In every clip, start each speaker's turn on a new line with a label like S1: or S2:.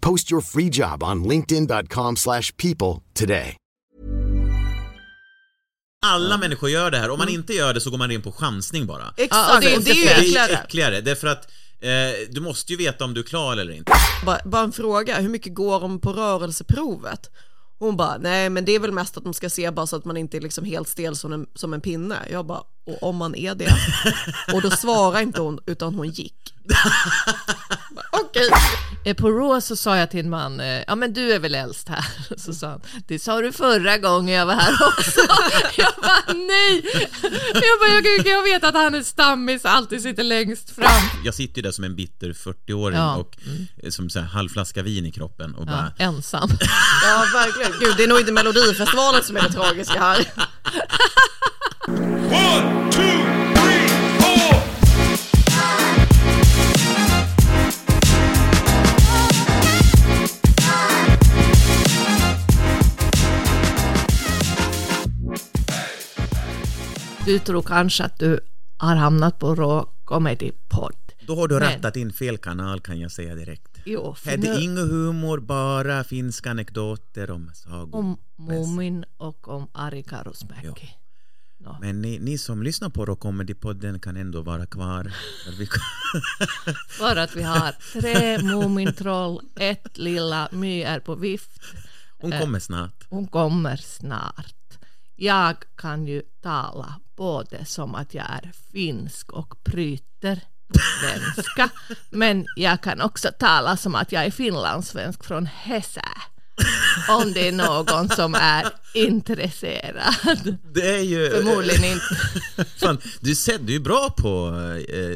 S1: Post your free job on linkedin.com/people slash people today.
S2: Alla människor gör det här, om man inte gör det så går man in på chansning bara.
S3: Exakt.
S4: Mm. Ja, och det-
S3: och
S4: det är ju
S3: det-
S2: Det
S4: Äckligare.
S2: är äckligare, därför att eh, du måste ju veta om du är klar eller inte.
S3: bara, bara en fråga, hur mycket går de på rörelseprovet? Hon bara, nej men det är väl mest att de ska se bara så att man inte är liksom helt stel som en, som en pinne. Jag bara, och om man är det? Och då svarade inte hon, utan hon gick. Bara, Okej.
S4: Eh, På Raw så sa jag till en man, eh, ja men du är väl äldst här? Så sa han, det sa du förra gången jag var här också. Jag bara, nej! Jag bara, jag, gud, jag vet att han är stammis och alltid sitter längst fram.
S2: Jag sitter ju där som en bitter 40-åring
S4: Ja. Mm.
S2: och eh, som så här, halvflaska vin i kroppen och
S4: Ja,
S2: bara
S4: ensam.
S3: Ja verkligen, gud det är nog inte melodifestivalen som är det tragiska här.
S5: One, two, three, four.
S4: Du tror kanske att du har hamnat på Raw Comedy-podd.
S2: Då har du
S4: Men-
S2: rattat in fel kanal kan jag säga direkt.
S4: Jo, för
S2: Här är det
S4: nu
S2: ingen humor, bara finska anekdoter om sagor.
S4: om Mumin och om Ari Karusmäki.
S2: Men ni, ni som lyssnar på Rock Comedy-podden kan ändå vara kvar. För vi-
S4: För att vi har tre Mumintroll, ett lilla My är på vift.
S2: Hon kommer snart.
S4: Hon kommer snart. Jag kan ju tala både som att jag är finsk och bryter svenska. Men jag kan också tala som att jag är finlandssvensk från Hesä. Om det är någon som är intresserad.
S2: Det är ju...
S4: Förmodligen inte.
S2: Fan, du, ser, du är bra på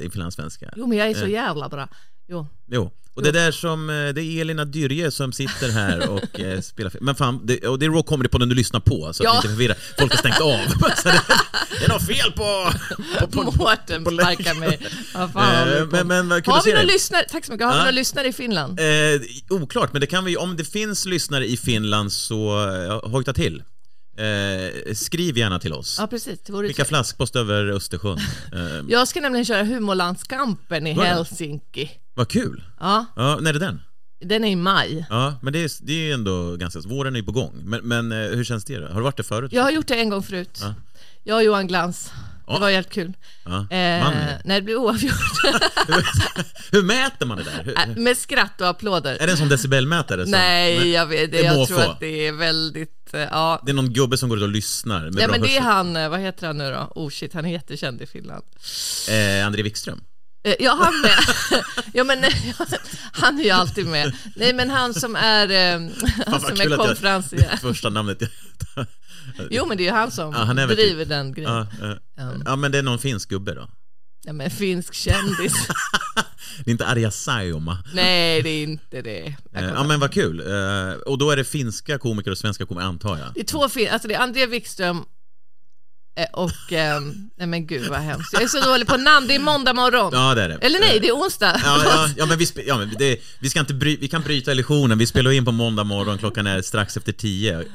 S2: eh, finlandssvenska.
S4: Jo men jag är så jävla bra. Jo.
S2: Jo. Och det där som, eh, det är Elina Dyrje som sitter här och eh, spelar Men fan, det, och det är Raw Comedy podden du lyssnar på så att
S4: Ja.
S2: du inte förvirrar. Folk har stängt av. Så det, det är något fel på... på, på,
S4: Mårten sparkar mig. Vad fan
S2: Eh,
S4: håller du på
S2: men- men vad kul
S4: Har
S2: att
S4: vi
S2: se
S4: några
S2: dig.
S4: lyssnare? Tack så mycket. Har vi
S2: Ja.
S4: några lyssnare i Finland?
S2: Eh, oklart, men det kan vi, om det finns lyssnare i Finland så eh, hojta till. Eh, skriv gärna till oss.
S4: Ja precis. Det vore
S2: Skicka flaskpost över Östersjön. Eh,
S4: Jag ska nämligen köra Humorlandskampen i
S2: Bra.
S4: Helsinki.
S2: vad kul!
S4: Ja,
S2: Ja, när är det den?
S4: den är i maj.
S2: Ja, men det är, det är ju ändå ganska... Våren är ju på gång. Men, men eh, hur känns det då? Har du varit där förut?
S4: Jag har gjort det en gång förut.
S2: Ah.
S4: Jag och Johan Glans. Det
S2: Ja.
S4: var jävligt kul.
S2: Ja. Vann
S4: Eh,
S2: ni?
S4: när det blev oavgjort.
S2: Hur mäter man det där? Hur,
S4: Eh, Med skratt och applåder.
S2: är det en sån decibelmätare? som-
S4: Nej, jag vet det.
S2: det är
S4: Jag
S2: måfå.
S4: tror att det är väldigt, eh, ja.
S2: Det är någon gubbe som går ut och lyssnar med
S4: Nej
S2: bra
S4: men det är
S2: hörsel.
S4: han, eh, vad heter han nu då? Oh shit, han är jättekänd i Finland.
S2: Eh, André Wikström.
S4: Eh, Ja, han med. ja, men, han är ju alltid med. Nej, men han som är, eh, han
S2: Fan, vad
S4: som
S2: kul
S4: är
S2: att jag-
S4: konferencier.
S2: Första namnet jag...
S4: Jo, men det är ju han som
S2: Ja, han är väl typ-
S4: driver den grejen.
S2: Ja, eh,
S4: Um.
S2: ja, men det är någon finsk gubbe då.
S4: Ja, men finsk kändis.
S2: Det är inte Arja Saijonmaa.
S4: Nej, det är inte det. Jag
S2: Eh,
S4: kommer-
S2: Ja men vad kul. Eh, Och då är det finska komiker och svenska komiker antar jag.
S4: Det är två fin... Alltså det är André Wikström eh, och... ehm, nej men gud vad hemskt. Jag är så dålig på namn. Det är måndag morgon.
S2: Ja det är det.
S4: Eller nej, det är onsdag.
S2: Ja, ja, ja men, vi, spe- ja, men det, vi, ska inte bry, vi kan bryta illusionen, vi spelar in på måndag morgon, klockan är strax efter tio. Eh,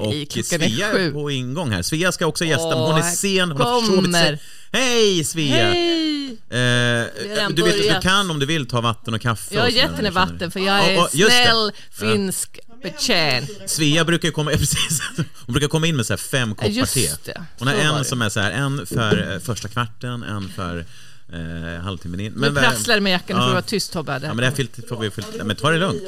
S2: och
S4: klockan är
S2: Svea
S4: sju.
S2: är på ingång här. Svea ska också gästa, men
S4: Åh,
S2: hon är
S4: här
S2: sen, hon har försovit sig.
S4: kommer.
S2: Hej Svea!
S4: Hej!
S2: Eh,
S4: redan
S2: du vet att
S4: börjat.
S2: du kan om du vill ta vatten och kaffe.
S4: Jag har
S2: och sådär,
S4: gett henne
S2: känner du.
S4: vatten för jag
S2: Ja,
S4: är
S2: ja, just det.
S4: snäll, finsk betjänt.
S2: Svea brukar ju komma, ja, precis, hon brukar komma in med så här fem koppar
S4: Just
S2: te.
S4: det,
S2: Hon har
S4: så var det.
S2: en som är så här, en för eh, första kvarten, en för eh, halvtimmen in.
S4: Nu
S2: vad-
S4: prasslar det med jackan, nu får du
S2: Ja.
S4: vara tyst Tobbe.
S2: Ja men det här filt, får vi filtra, men ta det lugnt.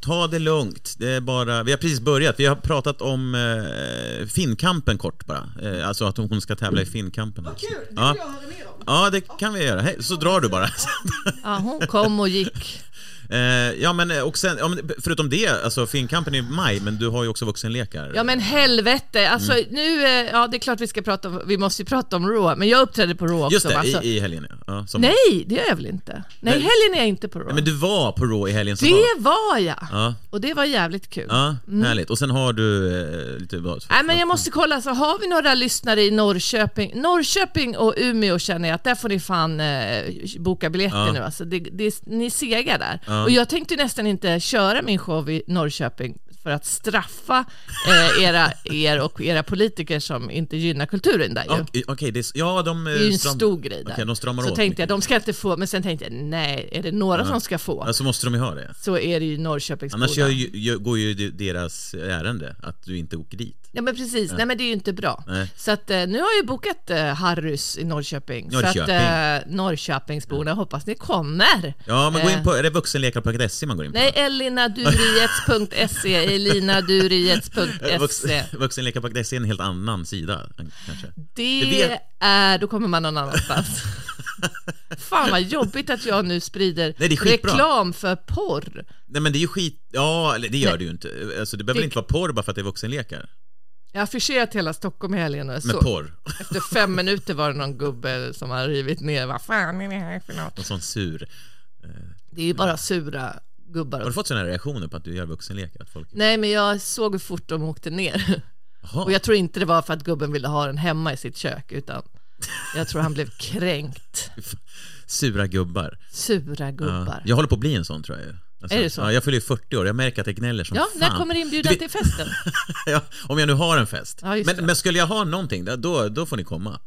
S2: Ta det lugnt. Det är bara, vi har precis börjat. Vi har pratat om eh, Finnkampen kort bara. Eh, alltså att hon ska tävla i Finnkampen. Vad kul! Det ja. jag höra mer om. Ja, det kan vi göra. Hej, så drar du bara.
S4: Ja, hon kom och gick.
S2: Eh, ja, men eh, och sen, ja, men förutom det, alltså Finnkampen är i maj, men du har ju också vuxenlekar.
S4: Ja men helvete, alltså
S2: Mm.
S4: nu, eh, ja det är klart vi ska prata om, vi måste ju prata om Raw, men jag uppträdde på Raw också.
S2: Just det,
S4: va? Så-
S2: i, i helgen ja. ja som,
S4: Nej, det gör jag väl inte? Nej,
S2: Nej.
S4: helgen är jag inte på Raw.
S2: Nej, Men du var på Raw i helgen som var.
S4: Det Mm. var jag!
S2: Ja.
S4: Och det var jävligt kul.
S2: Ja, härligt. Och sen har du eh, lite... vad-
S4: Nej, men jag måste kolla, så har vi några lyssnare i Norrköping? Norrköping och Umeå känner jag att där får ni fan eh, boka biljetter
S2: Ja.
S4: nu. Alltså, det, det, ni segar där. Och jag tänkte nästan inte köra min show i Norrköping för att straffa eh, era, er och era politiker som inte gynnar kulturen där ju.
S2: Ja, Okej, det är, ja, de... eh,
S4: Det är ju en stor grej där.
S2: Okej, de stramar
S4: så
S2: åt
S4: tänkte jag, de ska inte få, men sen tänkte jag, nej, är det några som ska få
S2: Ja, så måste de ju ha det.
S4: så är det ju Norrköpingsborna.
S2: Annars gör, ju- gör, går ju det- deras ärende, att du inte åker dit.
S4: Ja men precis, nej men det är ju inte bra.
S2: Nej.
S4: Så att eh, nu har jag ju bokat eh, Harrys i Norrköping. Så att
S2: Norrköping.
S4: eh, Norrköpingsborna, jag hoppas ni kommer.
S2: Ja, men gå
S4: Eh,
S2: in på, är det vuxenlekar.se man går in på?
S4: Nej, elinaduriets.se,
S2: Eh, vux-
S4: elinaduriets.se.
S2: Vuxenlekar.se är en helt annan sida, eh, kanske. Det
S4: Det
S2: vet-
S4: är, då kommer man någon annanstans. Fan vad jobbigt att jag nu sprider
S2: Nej, det är skitbra.
S4: reklam för porr.
S2: Nej men det är ju skit... Ja, eller det gör
S4: Nej.
S2: det ju inte. Alltså, det behöver
S4: Det-
S2: väl inte vara porr bara för att det är vuxenlekar?
S4: Jag har affischerat hela Stockholm i helgen och jag
S2: Men
S4: såg-
S2: porr.
S4: efter fem minuter var det någon gubbe som har rivit ner, vad fan är det här för något?
S2: Någon sån sur...
S4: Det är ju bara sura gubbar.
S2: Mm. Har du fått såna här reaktioner på att du gör vuxenlekar? Att folk...
S4: Nej, men jag såg hur fort de åkte ner.
S2: Jaha.
S4: Och jag tror inte det var för att gubben ville ha den hemma i sitt kök, utan jag tror han blev kränkt.
S2: Sura gubbar.
S4: Sura
S2: Ja.
S4: gubbar. Ja,
S2: Jag håller på att bli en sån tror jag ju. Alltså,
S4: Är det så?
S2: Ja, jag fyller ju 40 år, jag märker att det gnäller som fan.
S4: när kommer inbjudan
S2: Du
S4: till
S2: vet-
S4: festen?
S2: ja, om jag nu har en fest.
S4: Ja, just det.
S2: men, men skulle jag ha någonting, då, då får ni komma.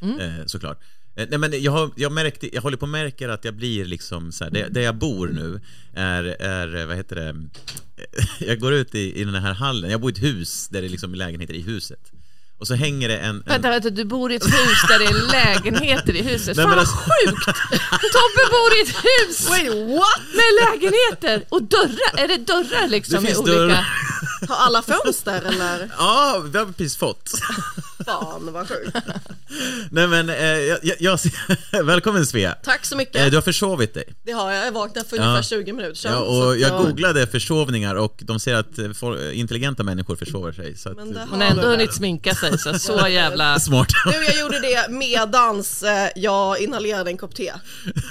S2: Eh, såklart. Eh, nej, men jag, har, jag, märkte, jag håller på och märker att jag blir liksom så här, där, där jag bor nu är, är eh, vad heter det, jag går ut i, i den här hallen, jag bor i ett hus där det är liksom lägenheter i huset. Och så hänger det en... en
S4: Vänta, vänta, du bor i ett hus där det är lägenheter i huset.
S2: Nej,
S4: Fan
S2: men
S4: vad
S2: alltså-
S4: sjukt! Tobbe bor i ett hus! Wait, what? Med lägenheter! Och dörrar, är det dörrar liksom?
S2: Det finns
S4: med olika...
S2: dörrar.
S3: Har alla fönster eller?
S2: Ja, vi har precis fått.
S3: Fan vad sjukt.
S2: Nej men, eh, jag, jag, jag, välkommen Svea.
S3: Tack så mycket.
S2: Eh, du har försovit dig.
S3: Det har jag, jag vaknade för ungefär 20 minuter sedan.
S2: Ja,
S3: så
S2: och
S3: att
S2: jag googlade försovningar och de säger att eh, fol- intelligenta människor försover sig. Så att,
S3: Men det
S4: Hon
S3: har
S4: har ändå
S3: du
S4: hunnit
S3: väl.
S4: sminka sig, så, så jävla...
S2: Smart.
S3: Du, jag gjorde det medans eh, jag inhalerade en kopp te.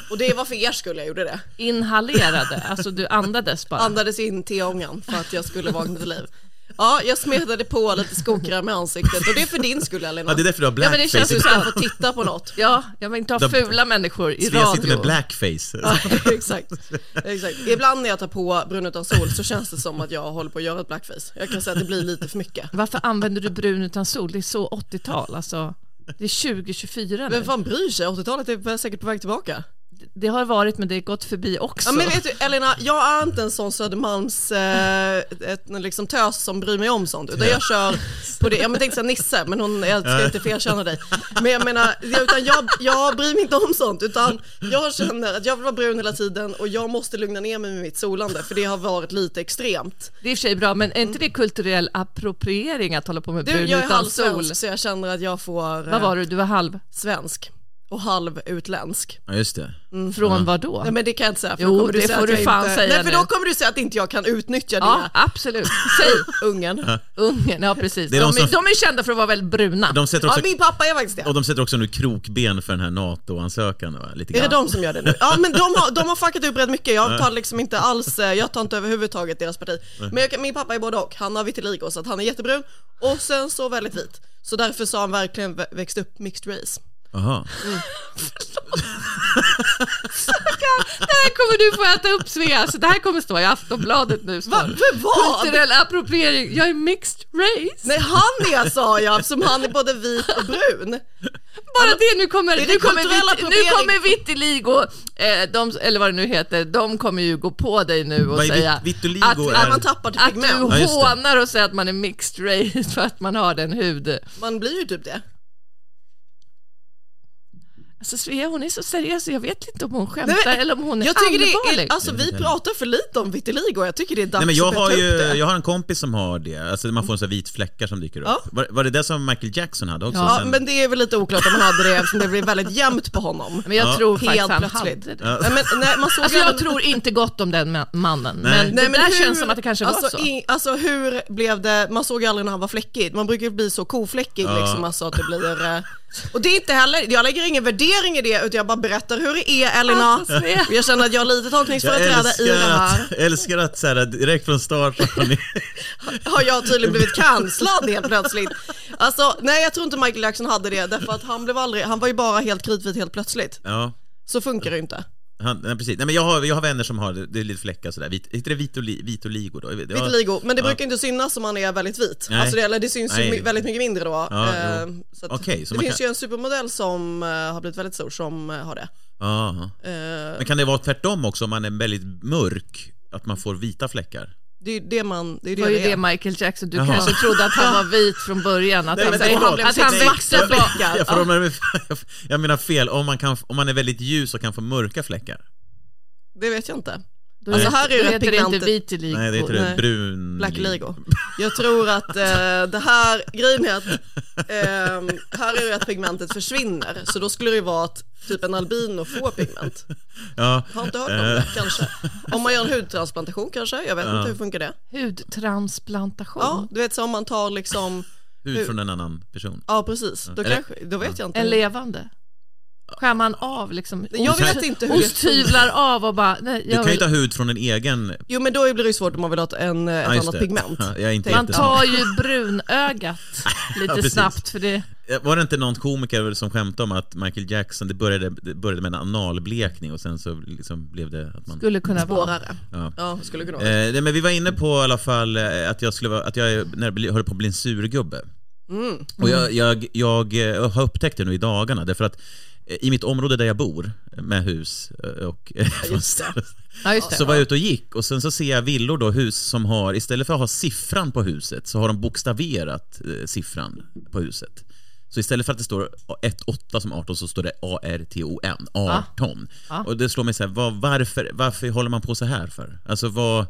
S3: Och det var för er skull jag gjorde det.
S4: Inhalerade, alltså du andades bara.
S3: Andades in teångan för att jag skulle vakna till liv. Ja, jag smetade på lite skokräm i ansiktet och det är för din skull Elina.
S2: Ja, det är därför du har
S4: Ja, men
S2: blackface.
S4: det känns ju
S3: Du
S4: så
S3: ska
S4: här,
S3: få titta på något.
S4: Ja, jag vill inte ha
S2: De-
S4: fula människor i
S2: Svea sitter
S4: radio.
S2: med blackface.
S3: Ja, exakt. exakt. Ibland när jag tar på brun utan sol så känns det som att jag håller på att göra ett blackface. Jag kan säga att det blir lite för mycket.
S4: Varför använder du brun utan sol? Det är så 80-tal, alltså. Det är 2024 nu.
S3: Vem fan bryr sig? 80-talet är säkert på väg tillbaka.
S4: Det har varit, men det har gått förbi också.
S3: Ja, men vet du, Elina, jag är inte en sån Södermalms eh, ett, liksom tös som bryr mig om sånt. Utan jag kör på det. Jag tänkte säga Nisse, men hon, jag ska inte felkänna dig. Men jag menar, utan jag, jag bryr mig inte om sånt. Utan jag känner att jag vill vara brun hela tiden och jag måste lugna ner mig med mitt solande. För det har varit lite extremt.
S4: Det är i och för sig bra, men är inte det kulturell appropriering att hålla på med
S3: Du,
S4: brun
S3: jag är
S4: utan sol?
S3: halvsvensk så jag känner att jag får... eh,
S4: Vad var du? Du var halv?
S3: Svensk. Och halv utländsk.
S2: Ja, just det.
S3: Mm.
S4: Från vad då?
S3: Nej men det kan jag inte säga. För då
S4: Jo,
S3: kommer
S4: det
S3: säga
S4: får
S3: att
S4: du
S3: jag
S4: fan
S3: inte...
S4: säga
S3: Nej för då
S4: nu.
S3: kommer du säga att inte jag kan utnyttja
S4: ja,
S3: dina...
S4: absolut. Säg!
S3: Ungern.
S4: Ungen, ja precis.
S2: Det
S4: De,
S2: är de
S4: är,
S2: som-
S4: de är kända för att vara väldigt bruna.
S2: De sätter
S3: Ja,
S2: också,
S3: min pappa är faktiskt det.
S2: och de sätter också nu krokben för den här NATO-ansökan. Va? Lite
S3: Är det
S2: grann.
S3: de som gör det nu? Ja men de har, de har fuckat upp rätt mycket, jag tar liksom inte alls, eh, jag tar inte överhuvudtaget deras parti. Men jag, kan- min pappa är både och, han har vitiligo så att han är jättebrun och sen så väldigt vit. Så därför så har han verkligen vä- växt upp mixed race.
S2: Aha.
S4: Det här kommer du få äta upp Svea, så det här kommer stå i Aftonbladet nu. snart.
S3: Va- för vad?
S4: Kulturell appropriering, jag är mixed race.
S3: Nej han är sa jag, som han är både vit och brun.
S4: Bara det, nu kommer,
S3: det är
S4: nu kommer,
S3: kulturell
S4: vit, nu
S3: appropriering.
S4: kommer Vitiligo, eh, de, eller vad det nu heter, de kommer ju gå på dig nu och
S2: Vad är vit-
S4: säga
S2: vitiligo
S4: att,
S2: är?
S4: att,
S3: Man tappar till
S4: att du
S3: pigment.
S2: Ja, just det.
S4: hånar och säger att man är mixed race för att man har den hud...
S3: Man blir ju typ det.
S4: Alltså Svea hon är så seriös så jag vet inte om hon
S3: Nej,
S4: skämtar
S3: men
S4: eller om hon är
S3: jag tycker det
S4: allvarlig.
S3: är, alltså, vi pratar för lite om vitiligo, jag tycker det är dags
S2: Mm. Nej, men jag
S3: att
S2: har
S3: ta
S2: ju
S3: upp det.
S2: jag har en kompis som har det. Alltså, man får så här vit fläckar som dyker upp.
S3: Ja.
S2: Var, var det det som Michael Jackson hade också?
S3: Ja,
S2: sen-
S3: men det är väl lite oklart om han hade det eftersom det blev väldigt jämnt på honom.
S4: Men jag tror
S3: Helt
S4: faktiskt han
S3: plötsligt.
S4: hade det.
S3: Nej, men, nej, man såg
S4: Alltså
S3: ju
S4: jag
S3: även-
S4: tror inte gott om den ma- mannen, men
S2: Nej,
S4: det där
S3: hur-
S4: känns som att det kanske
S3: alltså,
S4: var så.
S3: i- alltså hur blev det, man såg ju aldrig när han var fläckig, man brukar ju bli så kofläckig liksom, alltså att det blir... eh, Och det är inte heller, jag lägger ingen värdering i det utan jag bara berättar hur det är Elina.
S4: Alltså, Svea.
S3: Jag känner att jag har lite
S2: jag
S3: tolkningsföreträde i det
S2: älskar
S3: här.
S2: att, älskar att så här, direkt från start har ni...
S3: Har jag tydligen blivit kanslad helt plötsligt. Alltså nej jag tror inte Michael Jackson hade det därför att han blev aldrig, han var ju bara helt kritvit helt plötsligt.
S2: Ja.
S3: Så funkar det ju inte.
S2: Han, nej, precis. Nej, men jag, har, jag har vänner som har det, det är lite fläckar sådär. Vit, heter det vitoli, vitoligo då? Ja.
S3: Vitiligo, men det brukar inte synas om man är väldigt vit.
S2: Nej.
S3: Alltså det, eller det syns ju
S2: Nej.
S3: my- väldigt mycket mindre då.
S2: Ja,
S3: Eh,
S2: jo.
S3: så att
S2: Okej, så
S3: det
S2: man
S3: finns
S2: kan-
S3: ju en supermodell som eh, har blivit väldigt stor som eh, har det.
S2: Ja.
S4: Eh,
S2: Men kan det vara tvärtom också om man är väldigt mörk? Att man får vita fläckar?
S3: Det är ju det man, det är
S4: Det
S3: det,
S4: var ju
S3: det
S4: det
S3: är.
S4: Michael Jackson, du
S2: Jaha.
S4: kanske trodde att han var vit från början, att
S2: Nej,
S4: han,
S2: men förlåt.
S4: att han
S2: Nej,
S4: växte
S2: jag-
S4: på...
S3: fläckar.
S2: Jag, får, jag, jag menar fel, om man, kan, om man är väldigt ljus och kan få mörka fläckar.
S3: det vet jag inte.
S4: Då
S3: Alltså, här är ju
S4: då
S3: rätt
S4: heter det inte
S3: pigmentet.
S4: vitiligo.
S2: Nej, det heter
S3: Nej.
S2: det. Brun...
S3: Blackligo. Jag tror att eh, det här, grejen är att eh, här är det att pigmentet försvinner, så då skulle det ju vara att typ en albino får pigment.
S2: Ja.
S3: Har inte hört om det kanske. Om man gör en hudtransplantation kanske, jag vet inte hur funkar det?
S4: Hudtransplantation.
S3: Ja, du vet så om man tar liksom
S2: Ut från en annan person.
S3: Ja precis, då,
S2: Eller-
S3: kanske, då vet jag inte.
S4: En levande. Skär man av liksom?
S3: Jag
S4: ost-
S3: vet inte hur det-
S4: Osthyvlar av och bara... Nej,
S2: Du
S4: jag
S2: kan ju
S4: vill,
S2: inte ha hud från en egen...
S3: Jo men då blir det ju svårt om man vill ha ett, en, ett
S2: Ja, just
S3: annat
S2: det.
S3: pigment.
S2: Ja, jag är inte
S3: Tänk-
S4: man
S2: jätte-
S4: tar ju brunögat
S2: Ja,
S4: lite
S2: precis.
S4: snabbt för det...
S2: Var det inte någon komiker som skämtade om att Michael Jackson, det började, det började med en analblekning och sen så liksom blev det att man...
S4: skulle kunna vara.
S3: Spårare.
S2: Ja.
S3: Ja, skulle kunna
S2: Eh,
S3: vara.
S2: nej, men vi var inne på i alla fall eh, att jag, skulle vara, att jag är- när jag blir- höll på att bli en surgubbe.
S4: Mm.
S2: Och jag, jag, jag eh, har upptäckt det nu i dagarna, därför att eh, i mitt område där jag bor, med hus eh, och fönster,
S4: Ja, just det.
S2: så var jag ute och gick och sen så ser jag villor då, hus som har, istället för att ha siffran på huset, så har de bokstaverat eh, siffran på huset. Så istället för att det står 18 som 18 så står det A-R-T-O-N,
S4: Ah.
S2: 18. Och det slår mig så här, vad, varför, varför håller man på så här för? Alltså vad,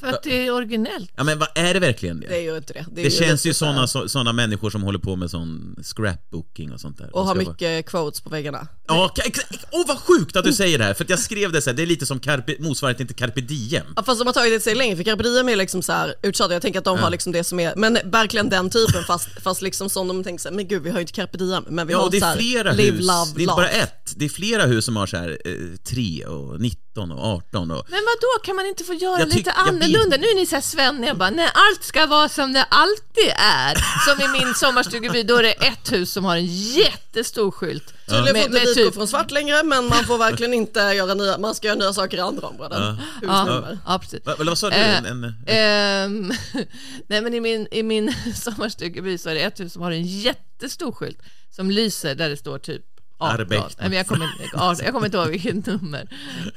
S4: För att det är originellt.
S2: ja men vad är det verkligen
S3: Det är ju inte det. är
S2: det känns ju
S3: lite så här-
S2: sådana så, såna människor som håller på med sån scrapbooking och sånt där.
S3: Och
S2: De
S3: har
S2: ska
S3: mycket quotes på väggarna.
S2: Vara... Ja, ka- ex- åh vad sjukt att du säger det här, för att jag skrev det så här, det är lite som carpe, motsvarigheten till carpe diem.
S3: Ja, fast de har tagit det sig längre, för Carpe Diem är liksom så här utsatta, jag tänker att de har liksom det som är, men verkligen den typen fast, fast liksom som de tänker så här, men gud vi har ju inte Carpe Diem, men vi
S2: Ja,
S3: har
S2: och det
S3: så
S2: är
S3: här,
S2: flera
S3: live,
S2: hus,
S3: love,
S2: det är inte bara
S3: laugh.
S2: ett. Det är flera hus som har så här eh, 3 och 19 och 18 och...
S4: Men vad då kan man inte få göra
S2: Jag tyck-
S4: lite
S2: jag vill-
S4: annorlunda? Nu är ni så här svenniga, jag bara, nej allt ska vara som det alltid är. Som i min sommarstugeby, då är det ett hus som har en jättestor skylt.
S3: Tydligen
S4: Med-
S3: får inte
S4: med
S3: dit
S4: typ-
S3: gå från svart längre, men man får verkligen inte göra nya, man ska göra nya saker i andra områden.
S4: Ja,
S3: Husnummer.
S4: ja, precis.
S2: Va, eller vad sa du?
S4: Eh,
S2: En, en,
S4: Ehm, nej men i min, i min sommarstugeby så är det ett hus som har en jättestor skylt som lyser där det står typ 18.
S2: Arbecht.
S4: Nej, men jag, kommer, inte- 18, jag kommer inte ihåg vilket nummer.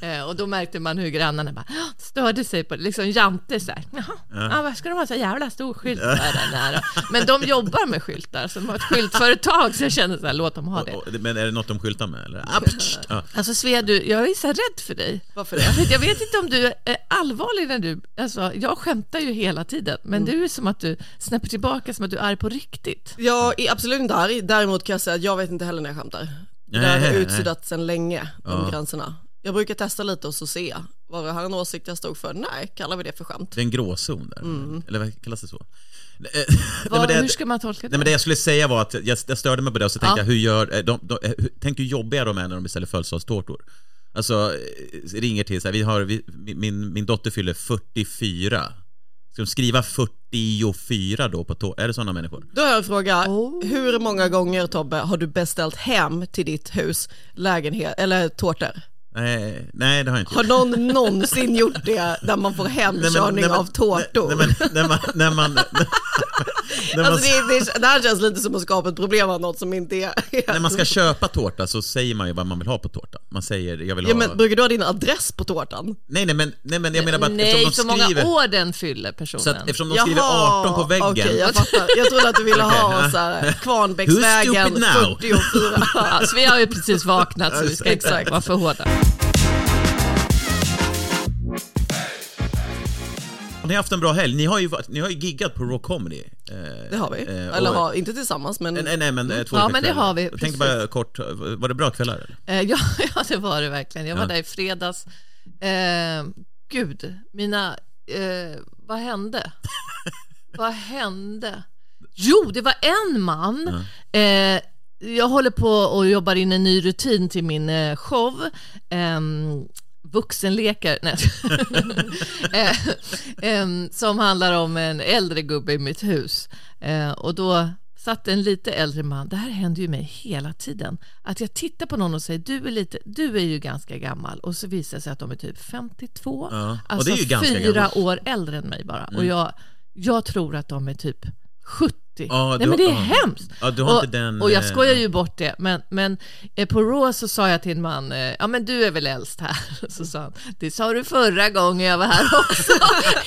S4: Eh, och då märkte man hur grannarna bara "Ah, störde sig på det. Liksom Jante så här. Jaha, ja. varför ska de ha så jävla stor skylt där, där, nära? Men de jobbar med skyltar, så de har ett skyltföretag. Så jag kände så här, låt dem ha det.
S2: och, men är det något de skyltar med eller? Ah, pst, ja.
S4: Alltså Svea, du, jag är så här rädd för dig.
S3: Varför det?
S4: För att Jag vet inte om du är allvarlig när du... Alltså, jag skämtar ju hela tiden, men
S2: Mm.
S4: du är som att du snäpper tillbaka som att du är arg på riktigt.
S3: Jag är absolut inte arg, däremot kan jag säga att jag vet inte heller när jag skämtar. Det där har
S2: Nej,
S3: utsuddat sedan länge, de gränserna. Jag brukar testa lite och så se, var det här en åsikt jag stod för? Nej, kallar vi det för skämt?
S2: Det är en gråzon där.
S3: Mm.
S2: Eller vad kallas det så? Eh,
S4: Vad,
S2: nej, men det-
S4: hur ska man tolka det?
S2: Nej men det jag skulle säga var att jag, jag störde mig på det och så tänkte
S4: Ja.
S2: jag, hur gör, eh, de, de, eh, hur, tänk hur jobbiga de är när de beställer födelsedagstårtor. Alltså, eh, ringer till så här, vi har, vi, min- min, min dotter fyller 44. Ska de skriva 44 då på tå? Är det sådana människor?
S3: Då har jag en fråga, hur många gånger Tobbe har du beställt hem till ditt hus lägenhet eller tårtor?
S2: Nej, nej det har jag inte
S3: Har
S2: gjort.
S3: någon någonsin gjort det där man får
S2: Nej, men-
S3: hemkörning
S2: nej, men-
S3: av tårtor?
S2: Nej, nej, men när man, när man, När man,
S3: Alltså det, det, det här känns lite som att skapa ett problem av något som inte är...
S2: när man ska köpa tårta så säger man ju vad man vill ha på tårta. Man säger jag vill
S3: ja,
S2: ha...
S3: men, brukar du ha din adress på tårtan?
S2: Nej, nej, men, nej, men jag menar bara att
S4: Nej, så
S2: eftersom de
S4: många
S2: skriver...
S4: år den fyller personen.
S2: Så att eftersom de
S3: Jaha,
S2: skriver 18 på väggen.
S3: Okej, jag fattar. Jag trodde att du ville ha
S2: Okej.
S3: så här, Kvarnbäcksvägen
S2: Who's stupid now?
S3: 44.
S4: Alltså, vi har ju precis vaknat så vi ska inte
S3: Exakt.
S4: vara för hårda.
S2: Har ni haft en bra helg? Ni har ju, varit- ni har ju giggat på Raw Comedy. Eh,
S3: Det har vi.
S2: eh, och-
S3: Eller har, inte tillsammans men...
S2: Nej, nej men eh, två
S4: Ja,
S2: olika
S4: men det
S2: kvällar.
S4: har vi,
S2: Jag tänkte
S4: precis.
S2: bara kort, eh, var det bra kvällar? eller?
S4: Eh, ja, ja, det var det verkligen. Jag var
S2: Ja.
S4: där i fredags. Eh, gud, mina... Eh, vad hände? vad hände? Jo, det var en man. Eh, jag håller på och jobbar in en ny rutin till min eh, show. Ehm, vuxenlekar, nej. eh, ehm, som handlar om en äldre gubbe i mitt hus. Eh, och då satt en lite äldre man, det här händer ju mig hela tiden, att jag tittar på någon och säger du är, lite, du är ju ganska gammal och så visar det sig att de är typ 52,
S2: Ja, och
S4: alltså
S2: det är ju ganska
S4: fyra
S2: gammalt.
S4: år äldre än mig bara.
S2: Mm.
S4: Och jag, jag tror att de är typ 70.
S2: Ja,
S4: Nej
S2: du-
S4: men det är
S2: ja.
S4: hemskt!
S2: Ja, du har
S4: och,
S2: inte den,
S4: och jag
S2: eh,
S4: skojar ju bort det, men, men eh, på Raw så sa jag till en man, eh, ja men du är väl äldst här? Så sa han, det sa du förra gången jag var här också.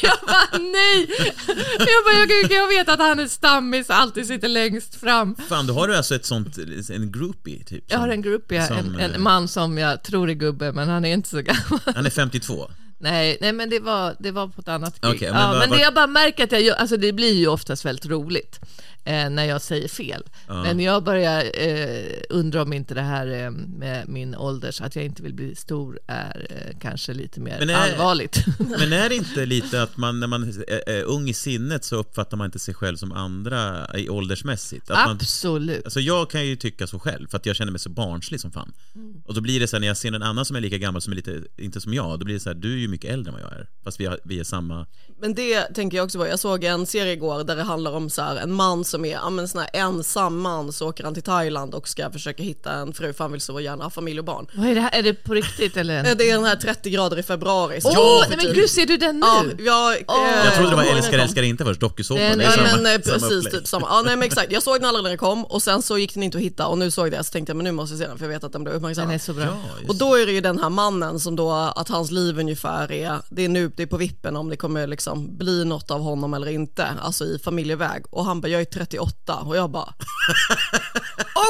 S4: jag bara nej! Jag bara, jag, gud, jag vet att han är stammis, alltid sitter längst fram.
S2: Fan, då har du alltså ett sånt, en groupie typ?
S4: Jag
S2: som-
S4: har en grupp, ja,
S2: som,
S4: en,
S2: eh,
S4: en man som jag tror är gubbe, men han är inte så gammal.
S2: Han är 52.
S4: Nej, nej men det var, det var på ett annat gig.
S2: Okej, men
S4: ja,
S2: vad-
S4: men det
S2: vad-
S4: jag bara märker att jag gör, alltså det blir ju oftast väldigt roligt eh, när jag säger fel. Men jag börjar eh, undra om inte det här eh, med min ålders, att jag inte vill bli stor är eh, kanske lite mer
S2: Men är-
S4: allvarligt.
S2: Men är det inte lite att man, när man eh, är, är ung i sinnet så uppfattar man inte sig själv som andra i åldersmässigt? Att man,
S4: Absolut.
S2: alltså jag kan ju tycka så själv, för att jag känner mig så barnslig som fan.
S4: Mm.
S2: Och då blir det så här, när jag ser en annan som är lika gammal som är lite, inte som jag, då blir det så här, du är ju mycket äldre än vad jag är. Fast vi, har, vi är samma...
S3: Men det tänker jag också på. Jag såg en serie igår där det handlar om så här, en man som är ja, men sån här ensam man så åker han till Thailand och ska försöka hitta en fru för han vill så gärna ha familj och barn.
S4: Vad är det här? Är det på riktigt eller?
S3: Eh, Det är den här 30 grader i februari. som-
S4: Åh, nej men gud, ser du den nu?
S3: Ja, jag, eh,
S2: typ. Jag trodde det var
S3: kommer ihåg
S2: älskar,
S3: den.
S2: älskar inte först, dokusåpa.
S4: Nej,
S2: det
S4: nej,
S2: är
S3: Ja,
S2: samma,
S3: men eh,
S2: samma
S3: precis,
S2: upplägg.
S3: typ samma. Ja, nej, men exakt. Jag såg den aldrig när den kom och sen så gick den inte att hitta och nu såg jag det så tänkte jag men nu måste jag se den för jag vet att den blev
S4: Den
S3: uppmärksammad.
S4: är så bra.
S2: Ja, just
S3: Och då är det ju den här mannen som då, att hans liv ungefär är, det är nu, det är på vippen om det kommer liksom bli något av honom eller inte, alltså i familjeväg. Och han bara, jag är 38 och jag bara,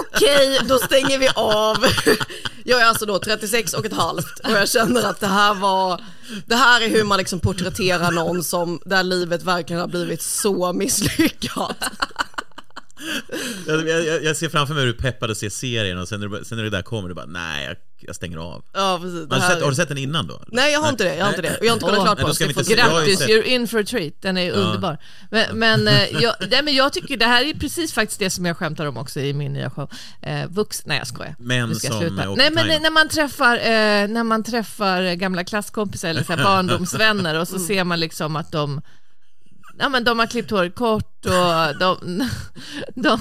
S3: okej, då stänger vi av. Jag är alltså då 36 och ett halvt och jag känner att det här var, det här är hur man liksom porträtterar någon som, där livet verkligen har blivit så misslyckat.
S2: Jag, jag, jag ser framför mig hur du peppade att se serien och sen när, du- sen när det där kommer du bara nej, jag, jag stänger av.
S3: Ja, precis. Det
S2: Har du,
S3: här
S2: sett, har
S3: är...
S2: du sett den innan då?
S3: Nej, jag har inte det, jag har inte det. Och jag har inte kollat
S4: Åh,
S3: klart
S2: nej,
S3: på
S2: då
S3: den.
S2: ska
S3: så
S2: vi
S3: jag
S2: inte se- jag
S3: får-
S2: har ju
S4: Grattis,
S2: sett-
S4: you're in for a treat. Den är underbar. Men, men, eh, jag, nej, men jag tycker det här är precis faktiskt det som jag skämtar om också i min nya show. Eh, vux, nej jag skojar.
S2: Män
S4: Nu ska jag
S2: som,
S4: sluta.
S2: eh, åker
S4: Nej men
S2: time.
S4: när man träffar, eh, när man träffar gamla klasskompisar eller så här barndomsvänner och så
S3: Mm.
S4: ser man liksom att de Ja, men de har klippt håret kort och de, de,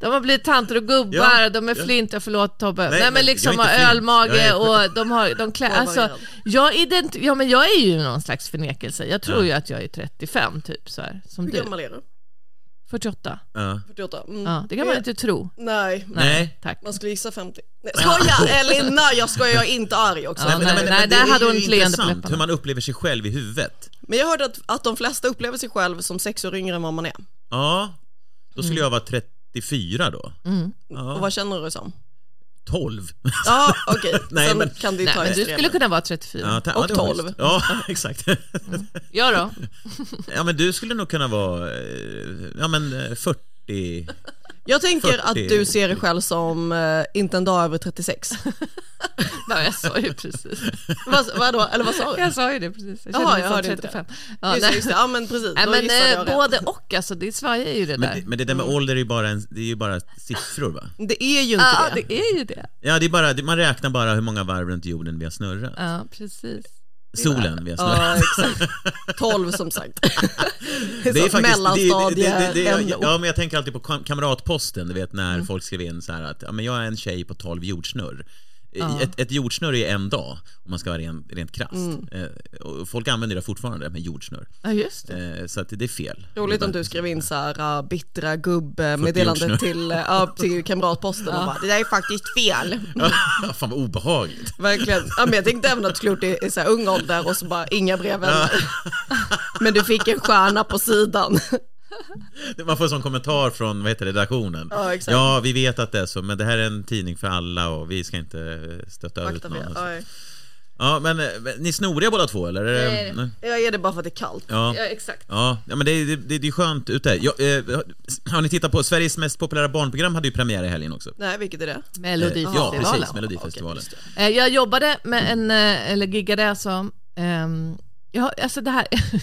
S4: de har blivit tanter och gubbar,
S2: Ja,
S4: de är
S2: ja.
S4: flinta, förlåt Tobbe. Nej, men
S2: men
S4: liksom
S2: jag är
S4: har
S2: inte flint. Jag
S4: ölmage
S2: är-
S4: och de har de klä, alltså,
S3: Påvarierad.
S4: jag, ident- ja, men jag är ju någon slags förnekelse. Jag tror ju att jag är 35 typ så här, som
S3: Hur
S4: du.
S3: gammal är du?
S4: 48.
S2: Ja.
S3: 48? Mm.
S4: Ja, det kan man inte tro.
S3: Nej,
S2: Nej.
S4: Tack.
S3: man skulle gissa 50. Nej, skoja! Elina, jag skojar, jag är inte arg också.
S4: Ja,
S2: men-
S4: nej,
S2: men-
S4: nej,
S2: men det
S4: där
S2: är
S4: hade
S2: ju
S4: hon ett leende på
S2: intressant
S4: läpparna.
S2: hur man upplever sig själv i huvudet.
S3: Men jag hörde att, att de flesta upplever sig själv som sex år yngre än vad man är.
S2: Ja, då skulle jag vara 34 då.
S3: Och vad känner du det som?
S2: 12.
S3: Ja, okej.
S2: Nej,
S3: Sen
S2: men-
S3: kan du ju
S4: Nej,
S3: ta
S4: men du
S3: extremer.
S4: skulle kunna vara 34.
S2: Ja, ta-
S3: Och
S2: ja, det var
S3: 12.
S2: schysst. Ja, exakt.
S4: Ja då.
S2: Ja, men du skulle nog kunna vara, eh, ja men eh, 40.
S3: Jag tänker
S2: 40.
S3: att du ser dig själv som eh, inte en dag över 36.
S4: Ja, jag sa ju precis.
S3: vad, vadå? Eller vad sa du?
S4: Jag sa ju det precis. Jag
S3: Jaha,
S4: kände mig
S3: jag
S4: som
S3: hörde inte
S4: 35.
S3: Ja,
S4: Ja,
S3: just, det, just det. ja men precis,
S4: Nej,
S3: då
S4: men
S3: gissade
S4: eh,
S3: jag rätt.
S4: både och alltså, det svajar ju det där.
S2: Men, men det där med ålder är ju bara, en, det är ju bara siffror va?
S3: Det är ju inte
S4: ja,
S3: det.
S4: det är ju det.
S2: Ja, det är bara, man räknar bara hur många varv runt jorden vi har snurrat.
S4: Ja, precis.
S2: Solen vi har snurrat.
S3: Ja, exakt. 12 som sagt.
S2: Det är faktiskt, det, det, det, det, det,
S3: Mellanstadie, Mm.
S2: jag, ja, men jag tänker alltid på kam- kamratposten, du vet när folk skrev in så här att ja, men jag är en tjej på 12 jordsnurr.
S4: Ja.
S2: Ett, ett jordsnöre är en dag, om man ska vara ren, rent krasst.
S3: Mm.
S2: Eh, och folk använder det fortfarande, med jordsnör.
S4: Ja, just det.
S2: Eh, så att det är fel.
S3: Roligt om du skrev in så här ah, bittra gubbmeddelande
S2: Fyrtionsen.
S3: till, eh, ja, till kamratposten och bara, det där är faktiskt fel.
S2: Ja, Fan vad obehagligt.
S3: Verkligen. Ja, men jag tänkte även att du skulle gjort det i så här ung ålder och så bara inga breven. Men du fick en stjärna på sidan.
S2: Man får en sån kommentar från vad heter det, redaktionen.
S3: Ja, exakt.
S2: ja, vi vet att det är så, men det här är en tidning för alla och vi ska inte stötta ut
S3: Akta
S2: någon.
S3: mig.
S2: och så.
S3: Oj.
S2: Ja, men eh, ni är snoriga båda två eller?
S4: Nej.
S2: Nej.
S3: Jag är det bara för att det är kallt.
S2: Ja.
S4: Ja, exakt.
S2: Eh, Ja, ja, men det är, det, är- det är skönt ute. Jag, eh, har ni tittat på Sveriges mest populära barnprogram hade ju premiär i helgen också.
S3: Nej, vilket är det?
S2: Eh,
S4: Melodifestivalen.
S2: ja, precis. Melodifestivalen.
S4: Eh, Jag jobbade med en, eh, eller giggade alltså, ehm, Ja, alltså det här,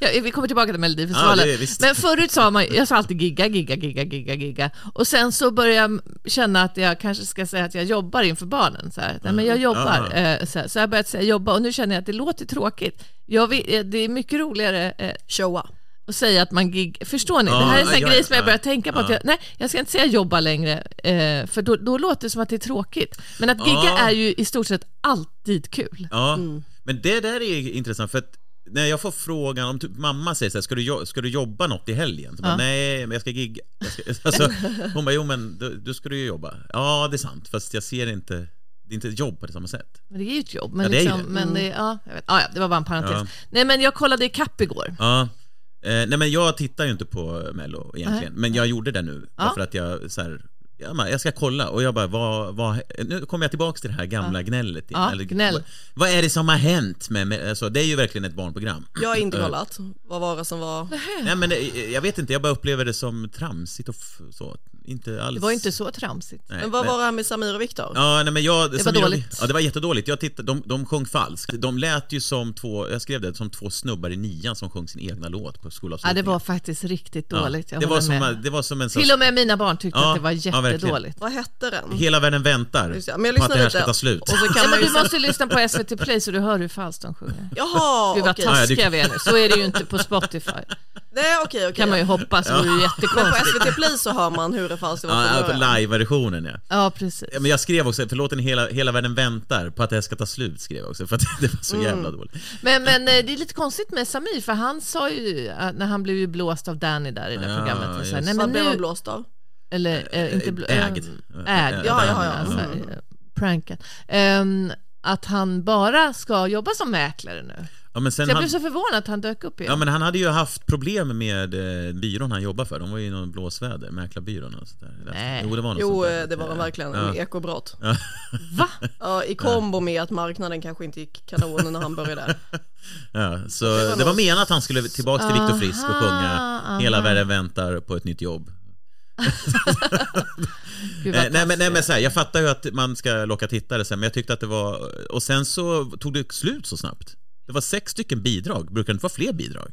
S4: ja, vi kommer tillbaka till Melodifestivalen.
S2: Ja, det är- visst.
S4: men förut sa man, jag sa alltid gigga, gigga, gigga, gigga, gigga. Och sen så började jag känna att jag kanske ska säga att jag jobbar inför barnen. Så, här. Nej, men jag jobbar.
S2: Ah.
S4: eh, Så, här. så jag har börjat säga jobba och nu känner jag att det låter tråkigt. Jag vill, eh, det är mycket roligare eh,
S3: Showa.
S4: och säga att man gig... Förstår ni?
S2: Ja,
S4: det här är en sån här
S2: ja,
S4: grej som jag
S2: ja,
S4: börjar tänka på. Att
S2: ja.
S4: jag, nej, jag ska inte säga jobba längre, eh, för då, då låter det som att det är tråkigt. Men att gigga
S2: Ja.
S4: är ju i stort sett alltid kul.
S2: Ja,
S4: Mm.
S2: men det där är intressant för att när jag får frågan om typ mamma säger så här, ska du, jo- ska du jobba något i helgen? Så bara,
S4: Ja.
S2: Nej, men jag ska gigga. Jag ska, alltså, hon bara, jo men du, du ska du ju jobba. Ja, det är sant, fast jag ser inte, det är inte ett jobb på det samma sätt.
S4: Men det är ju ett jobb. Men
S2: Ja, det är ju
S4: liksom,
S2: det. Mm.
S4: Men det, ja, jag vet, Ah, ja, ja, det var bara en parentes.
S2: Ja.
S4: Nej, men jag kollade i kapp igår.
S2: Ja. Eh, nej men jag tittar ju inte på Mello egentligen, men jag gjorde det nu
S4: Ja.
S2: därför att jag så här, ja, men jag ska kolla och jag bara, vad, vad, nu kommer jag tillbaks till det här gamla gnället. igen.
S4: Ja, gnäll.
S2: Vad, vad är det som har hänt med, med alltså, det är ju verkligen ett barnprogram.
S3: Jag har
S2: Eh.
S3: inte kollat. Vad var det som var?
S2: Nej men eh, jag vet inte, jag bara upplever det som tramsigt och f- så, inte alls.
S4: Det var ju inte så tramsigt.
S2: Nej,
S3: Men vad
S2: men-
S3: var det här med Samir och Viktor?
S2: Ja, nej, men jag, det
S4: var dåligt.
S2: ja, det var jättedåligt. Jag tittade, de, de sjöng falskt. De lät ju som två, jag skrev det, som två snubbar i nian som sjöng sin egna låt på
S4: Ja, det
S2: skolavslutningen.
S4: var faktiskt riktigt dåligt.
S2: Ja,
S4: Jag
S2: det, var
S4: håller
S2: som,
S4: med.
S2: att- det var som en sån
S4: Till och med mina barn tyckte
S2: Ja,
S4: att det var
S2: ja, verkligen.
S4: jättedåligt.
S3: Vad hette den?
S2: Hela världen väntar
S3: Just det, men jag
S2: på att det här
S3: lyssnade
S2: ska
S3: lite.
S2: ta slut.
S3: Och så
S4: Ja,
S3: kan man
S4: men
S3: ju...
S4: du måste lyssna på SVT Play så du hör hur falskt de sjunger.
S3: Jaha,
S4: Gud vad
S3: okej.
S2: Ja, ja,
S4: taskiga
S2: det-
S4: vi är nu. Så är det ju inte på Spotify.
S3: Nej, okej, okej.
S4: kan man ju hoppas, det vore ju
S3: Men på
S4: jättekonstigt.
S3: SVT Play så hör man hur det falskt det var
S2: Ja,
S3: från
S2: ja, på
S3: början.
S2: live-versionen ja.
S4: Ja, precis.
S2: ja. Men jag skrev också, för låten hela, hela världen väntar på att det här ska ta slut, skrev jag också, för att det var så jävla dåligt.
S4: Men, men eh, det är lite konstigt med Samir, för han sa ju, eh, när han blev ju blåst av Danny där i det
S2: Ja,
S4: programmet, och så här,
S2: just.
S3: Vad
S4: nej men
S3: blev man
S4: nu,
S3: blåst av?
S4: eller eh, inte blå,
S2: Ägd.
S4: eh, ägd,
S3: Ja, ja, ja.
S4: alltså,
S3: Mm.
S4: eh, pranken. Ehm, att han bara ska jobba som mäklare nu.
S2: Ja, men sen
S4: Så jag
S2: han,
S4: blev så förvånad att han dök upp igen.
S2: ja, men han hade ju haft problem med eh, byrån han jobbar för. De var ju i någon blåsväder, mäklarbyrån och sådär.
S4: Nej.
S2: Jo, det var något
S3: Jo,
S2: sånt där.
S3: eh, det var de verkligen.
S2: Ja.
S3: En ekobrott.
S4: Va?
S3: Ja, I kombo med att marknaden kanske inte gick kanon när han började.
S2: Ja, så det var, menat att han skulle tillbaka till Viktor Frisk och sjunga
S4: Aha,
S2: Hela
S4: aha.
S2: världen väntar på ett nytt jobb.
S4: Gud, vad
S2: Eh, nej men, nej,
S4: taskigt.
S2: men så här, jag fattar ju att man ska locka tittare sen, men jag tyckte att det var... Och sen så tog det slut så snabbt. Det var sex stycken bidrag, brukar det inte vara fler bidrag?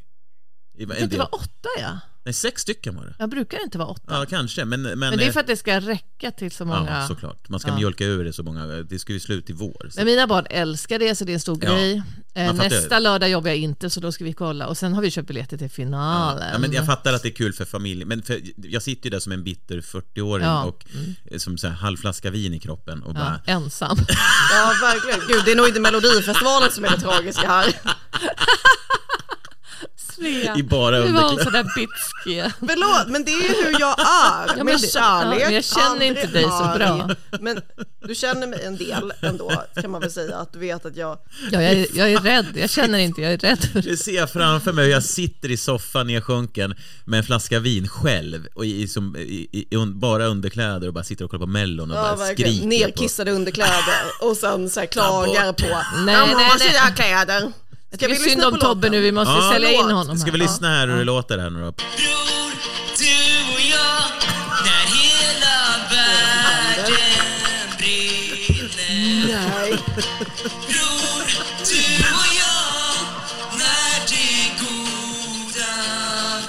S2: I-
S4: Det
S2: en
S4: kan inte
S2: del-
S4: vara åtta ja.
S2: Nej, sex stycken var det.
S4: Jag brukar inte vara åtta.
S2: Ja, kanske, men... Men, eh,
S4: Men det är för att det ska räcka till så många.
S2: Ja, såklart. Man ska
S4: Ja.
S2: mjölka ur det så många... Det ska ju slut i vår. Så.
S4: Men mina barn älskar det, så det är en stor
S2: Ja,
S4: grej. Eh,
S2: man fattar ju.
S4: Nästa lördag jobbar jag inte, så då ska vi kolla. Och sen har vi köpt biljetter till finalen.
S2: Ja, men jag fattar att det är kul för familjen, men för, jag sitter ju där som en bitter 40-åring
S4: Ja, Mm.
S2: och eh, som så här, halvflaska vin i kroppen och
S4: Ja,
S2: bara...
S4: ensam.
S3: Ja, verkligen. Gud, det är nog inte Melodifestivalen som är det tragiska här.
S4: Svea.
S2: I bara
S4: Du var hon
S2: underkläder.
S4: sådär bitsk igen.
S3: Förlåt, men det är ju hur jag är.
S4: men
S3: med
S4: det-
S3: kärlek.
S4: ja, men jag känner
S3: aldrig
S4: inte dig så
S3: arg.
S4: bra.
S3: Men du känner mig en del ändå, kan man väl säga. Att du vet att jag...
S4: Ja, jag, är- jag är rädd, jag känner inte, jag är rädd. för det.
S2: Du ser framför mig hur jag sitter i soffan nedsjunken med en flaska vin själv och i, som, i, i, i un, bara underkläder och bara sitter och kollar på mellon och
S3: Ja,
S2: bara
S3: verkligen.
S2: skriker.
S3: Nerkissade underkläder och sen så här, klagar på...
S4: Nej,
S3: "Ja, men
S4: nej,
S3: måste
S4: nej.
S3: jag ha kläder.
S4: Det
S3: Ska
S4: är synd om Tobbe nu, vi måste
S2: Ja,
S4: sälja in
S3: förlåt.
S4: honom.
S2: Ska vi
S4: här.
S2: lyssna här hur det låter här nu då?
S6: bror, du och jag, när hela världen brinner.
S3: Nej.
S6: Bror, du och jag, när det goda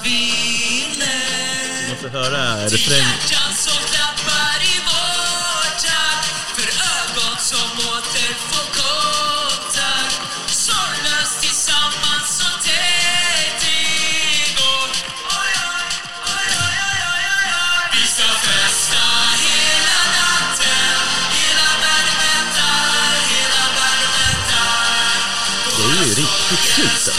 S6: vinner.
S2: Vi måste höra
S6: Till
S2: refrängen.
S6: hjärtan som klappar i vårt takt, för ögon som åter får kontakt. Sorglöst tillsammans som tätt i går. Oj, oj, oj, oj, oj, oj, oj, oj. Vi ska festa hela natten, hela världen väntar
S2: riktigt surt alltså.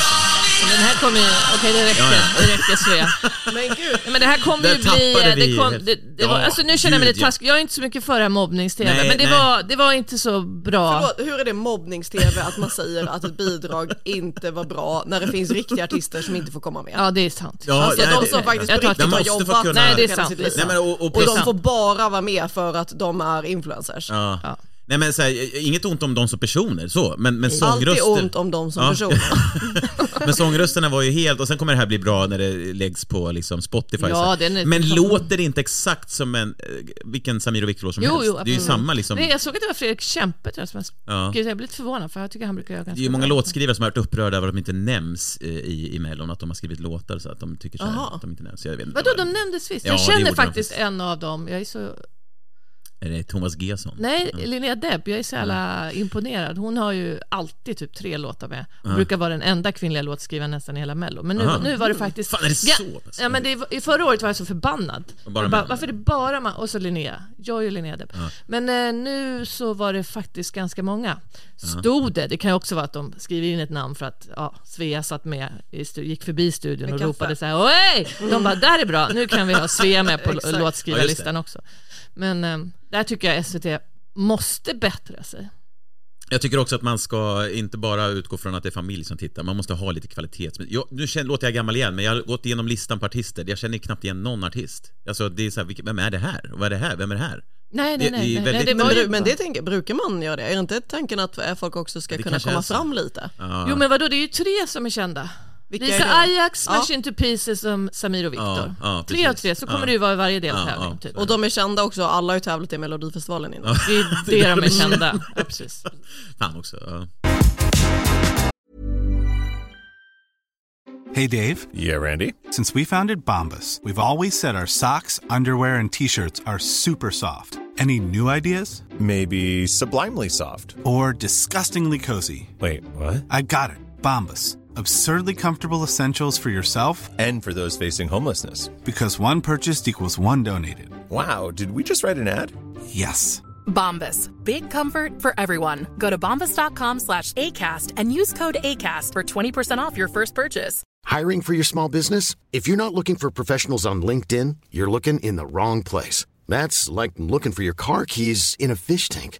S4: Men den här kommer ju... Okej, det räcker.
S2: Ja, ja.
S4: Det räcker, Svea.
S3: Men gud.
S4: Nej, men det här kommer
S2: Där
S4: ju bli...
S2: tappade vi
S4: Det kom,
S2: helt-
S4: det, det var,
S2: Ja,
S4: alltså, nu känner jag mig
S2: gud,
S4: lite
S2: ja.
S4: taskig. Jag är inte så mycket för det här mobbnings-tv,
S2: Nej,
S4: men det
S2: nej.
S4: var, det var inte så bra.
S3: Förlåt, hur är det mobbnings-tv att man säger att ett bidrag inte var bra när det finns riktiga artister som inte får komma med?
S4: Ja, det är sant.
S2: Ja,
S3: Alltså
S2: nej,
S3: de
S2: det-
S3: som faktiskt
S4: jag
S3: på
S4: tar
S3: riktigt har
S2: tillbaka. De måste få
S3: jobbat
S2: kunna-
S3: med
S4: Nej, det är
S3: hela
S4: sant.
S3: sitt liv.
S4: Det är
S2: Nej, men, och, och,
S3: Och de
S2: precis-
S3: får bara vara med för att de är influencers.
S2: ja.
S4: Ja.
S2: Nej men så här, inget ont om dem som personer så, men, men
S3: Alltid
S2: sångröster...
S3: ont om dem som
S2: Ja.
S3: personer.
S2: Men sångrösterna var ju helt, och sen kommer det här bli bra när det läggs på liksom Spotify.
S4: Ja,
S2: så här.
S4: den är-
S2: men låter det inte exakt som en, eh, vilken Samir och Viktor-låt som
S4: Jo,
S2: helst?
S4: jo,
S2: det är ju
S4: absolut.
S2: samma liksom.
S4: Nej, jag såg att det var Fredrik Kempe tror jag som
S2: Ja.
S4: jag... Gud, jag blir lite förvånad för jag tycker han brukar göra ganska
S2: Det är ju många
S4: bra.
S2: låtskrivare som har varit upprörda över att de inte nämns eh, i, i Mellon, att de har skrivit låtar så att de tycker så här,
S3: Jaha.
S2: att de inte nämns. Jag vet inte.
S4: Vadå, de
S2: vad-
S4: nämndes visst?
S2: Ja,
S4: jag
S2: det gjorde
S4: känner
S2: de
S4: faktiskt
S2: faktiskt.
S4: en av dem. Jag är så...
S2: Är det Thomas Gesson?
S4: Nej, Linnea Deb, jag är så jävla
S2: Mm.
S4: imponerad. Hon har ju alltid typ tre låtar med. Hon
S2: Ja.
S4: brukar vara den enda kvinnliga låtskrivaren nästan i hela Mello. Men nu,
S2: Aha.
S4: nu var det faktiskt...
S2: Mm. Fan, är det
S4: Ja,
S2: så pass?
S4: Ja, men det, var- i förra året var jag så förbannad.
S2: Och bara
S4: jag bara,
S2: män.
S4: varför är det bara man... Och så Linnea. Jag är Linnea Deb.
S2: Mm.
S4: Men eh, nu så var det faktiskt ganska många.
S2: Mm.
S4: Stod det, det kan ju också vara att de skriver in ett namn för att ja, Svea satt med, i stu- gick förbi studion och
S3: kaffe.
S4: ropade så här Oj! De bara, där är bra, nu kan vi ha Svea med på
S3: Exakt.
S4: låtskrivarlistan också. Men eh, där tycker jag SVT måste bättra sig.
S2: Jag tycker också att man ska inte bara utgå från att det är familj som tittar, man måste ha lite kvalitets... Jag, nu känner, låter jag gammal igen, men jag har gått igenom listan på artister, jag känner knappt igen någon artist. Alltså det är så här, vilka- vem är det här? Och Vad är det här? Vem är det här?
S4: Nej, nej,
S2: Det-
S4: nej.
S2: det är
S4: nej, nej,
S2: väldigt-
S4: det var
S3: Men,
S4: ju
S3: bru- men det tänker, brukar man göra det? Är inte tanken att folk också ska
S2: Det
S3: kunna
S2: kanske är
S3: komma
S2: så.
S3: fram lite?
S2: Ja.
S4: Jo, men vadå, det är ju tre som är kända.
S3: Vilka
S4: Lisa
S3: är det?
S4: Ajax,
S3: Ja.
S4: Smash Into Pieces som Samir och Viktor.
S2: Ja, ja,
S4: tre av
S2: precis.
S4: tre, så kommer
S2: Ja.
S4: det ju vara i varje deltävling.
S2: Ja, ja.
S4: typ.
S3: Och de är kända också, alla har ju tävlat i Melodifestivalen innan.
S4: Det är det de är kända. Ja, precis.
S2: Fan också. Ja.
S7: Hey Dave,
S8: Yeah, Randy.
S7: since we founded Bombus, we've always said our socks, underwear, and t shirts are super soft. E Any new ideas?
S8: Maybe sublimely soft.
S7: Or disgustingly cozy?
S8: Wait, what?
S7: I got it, Bombus. Absurdly comfortable essentials for yourself
S8: And for those facing homelessness.
S7: because one purchased equals one donated.
S8: Wow, did we just write an ad?
S7: Yes.
S9: Bombas. Big comfort for everyone. Go to bombas.com slash ACAST and use code ACAST for 20% off your first purchase.
S1: Hiring for your small business? If you're not looking for professionals on LinkedIn, you're looking in the wrong place. That's like looking for your car keys in a fish tank.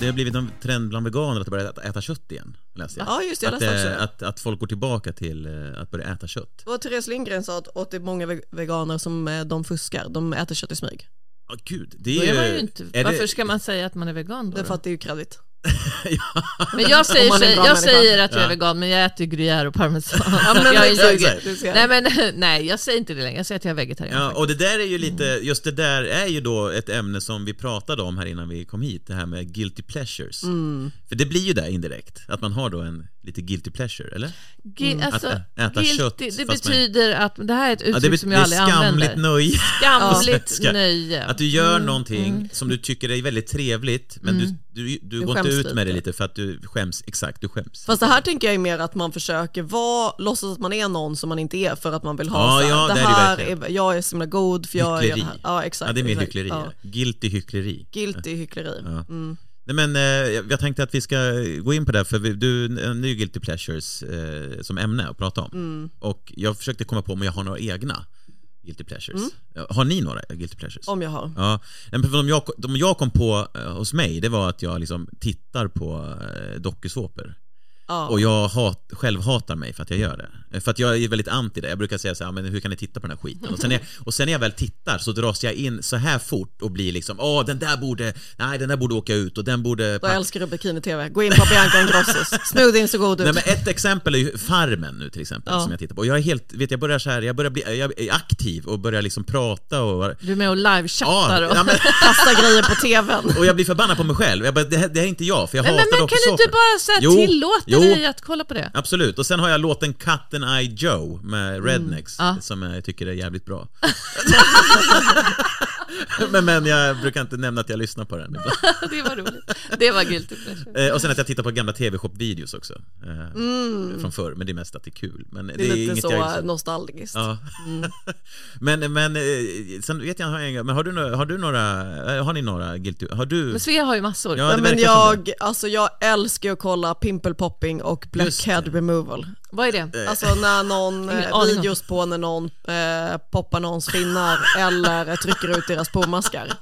S2: Det har blivit en trend bland veganer att börja äta, äta kött igen, läste jag.
S3: Ja, just det, jag
S2: att,
S3: läste också
S2: eh,
S3: det.
S2: att, att folk går tillbaka till eh, att börja äta kött.
S3: Och Therese Lindgren sa att, att det är många ve- veganer som eh, de fuskar, de äter kött i smyg.
S2: Ja, gud. Det
S4: Då
S2: är
S4: är
S2: ju...
S4: man ju inte,
S2: är
S4: varför
S2: det-
S4: ska man säga att man är vegan då?
S3: Därför
S4: då?
S3: att det är ju kreddigt.
S4: Men jag säger,
S3: Om man är en
S4: sig-
S3: bra
S4: jag
S3: människa.
S4: säger att jag är
S2: Ja.
S4: vegan, men jag äter gruyère och parmesan.
S3: Ja,
S4: Så
S3: men
S4: jag är
S3: exakt,
S4: ljuger.
S3: du ser.
S4: Nej, men nej, jag säger inte det längre. Jag säger att jag är vegetarian.
S2: Ja,
S4: faktiskt.
S2: och det där är ju lite, just det där är ju då ett ämne som vi pratade om här innan vi kom hit, det här med guilty pleasures. För det blir ju det indirekt, att man har då en lite guilty pleasure, eller?
S4: Gi- alltså,
S2: Att ä- Mm, äta
S4: guilty,
S2: kött,
S4: det
S2: fast man-
S4: betyder att, det här är ett uttryck
S2: Ja, det, bet-
S4: som
S2: det
S4: jag aldrig
S2: är
S4: använder.
S2: skamligt nöje.
S4: Skamligt
S2: Ska-
S4: nöje.
S2: Att du gör någonting som du tycker är väldigt trevligt, men du, du, du, går inte
S3: skäms
S2: ut med det
S3: lite.
S2: lite för att du skäms, exakt, du skäms.
S3: Fast det här tänker jag är mer att man försöker vara, låtsas att man är någon som man inte är för att man vill
S2: Ja,
S3: ha så här,
S2: ja,
S3: det
S2: det är det
S3: här
S2: verkligen.
S3: är, jag är så himla god för jag är
S2: hyckleri.
S3: det här. Ja exakt.
S2: Ja, det är mer
S3: exakt.
S2: hyckleri.
S3: Ja.
S2: Guilty hyckleri.
S3: Guilty hyckleri. Mm.
S2: Nej, men, eh, jag jag tänkte att vi ska gå in på det, här, för vi, du nämnde ju Guilty Pleasures eh, som ämne att prata om. Och jag försökte komma på om jag har några egna Guilty Pleasures. Har ni några Guilty Pleasures?
S3: Om jag har.
S2: Ja, Nej, men för de jag, de jag kom på eh, hos mig, det var att jag liksom tittar på eh, dokusåpor.
S3: Ja.
S2: Och jag hat, själv hatar mig för att jag gör det. Eh, För att jag är väldigt anti det. Jag brukar säga så här, "Ah, men hur kan ni titta på den här skiten? Och sen, är, och sen när jag väl tittar så dras jag in så här fort och blir liksom, åh den där borde, nej den där borde åka ut och den borde...
S3: Då älskar du bikini-tv. Gå in på Bianca Ingrossos. Smoothien så god ut.
S2: Nej, men ett exempel är ju Farmen nu till exempel
S3: Ja.
S2: som jag tittar på. Och jag är helt, vet jag börjar så här, jag börjar bli jag är aktiv och börjar liksom prata och...
S4: Du är med och livechattar
S2: Ja,
S4: och
S2: ja, men-
S3: Kasta grejer på tvn.
S2: Och jag blir förbannad på mig själv. Jag bara, det, här, det här är inte jag, för jag
S4: Men, men,
S2: hatar
S4: men kan
S2: dokusåpor.
S4: du inte bara så här,
S2: Jo,
S4: tillåta
S2: jo.
S4: dig att kolla på det?
S2: Absolut, och sen har jag låten Cut and Eye Joe med Rednecks
S4: Mm, Ja.
S2: som jag tycker är jävligt bra. men, men jag brukar inte nämna att jag lyssnar på den ibland.
S4: det var roligt. Det var guilty pleasure.
S2: Eh, Och sen att jag tittar på gamla TV-shop-videos också. eh,
S4: Mm.
S2: Från förr, men det är mest att det är kul. Men det,
S3: Det är lite
S2: inget jag
S3: så
S2: gillar.
S3: nostalgiskt.
S2: Ja. men, men eh, sen vet jag, har jag inga- men har du, några- har du några, eh, har ni några guilty, har du?
S4: Men Svea har ju massor.
S2: Ja, det
S3: Nej, men
S2: verkar som
S3: jag, alltså, jag älskar ju att kolla pimple popping och blackhead removal.
S4: Vad är
S2: Eh,
S4: det?
S3: Alltså när någon,
S4: Eh. Ingen
S3: eh,
S4: aning om.
S3: videos på när någon eh, poppar någons finnar eller eh, trycker ut deras pormaskar.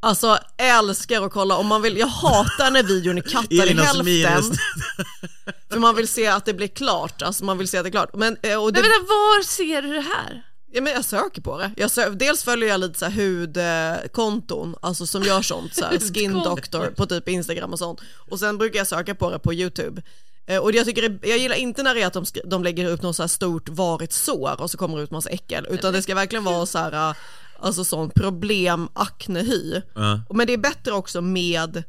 S3: Alltså älskar att kolla om man vill, jag hatar när videon är kattad i
S2: Elin och
S3: hälften.
S2: Smirnes.
S3: För man vill se att det blir klart, alltså man vill se att det är klart. Men, eh, och det,
S4: Men vänta, var ser du det här?
S3: Ja, men jag söker på det. Jag sö- dels följer jag lite så här hudkonton, alltså som gör sånt, så här, skin
S4: Hudkonton.
S3: doctor på typ Instagram och sånt. Och sen brukar jag söka på det på YouTube. Eh, Och jag, tycker det, jag gillar inte när det är att de, sk- de lägger upp något så här stort varigt sår och så kommer det ut massa äckel, utan det ska verkligen vara så här, eh, alltså sån problem aknehy.
S2: Ja.
S3: Men det är bättre också med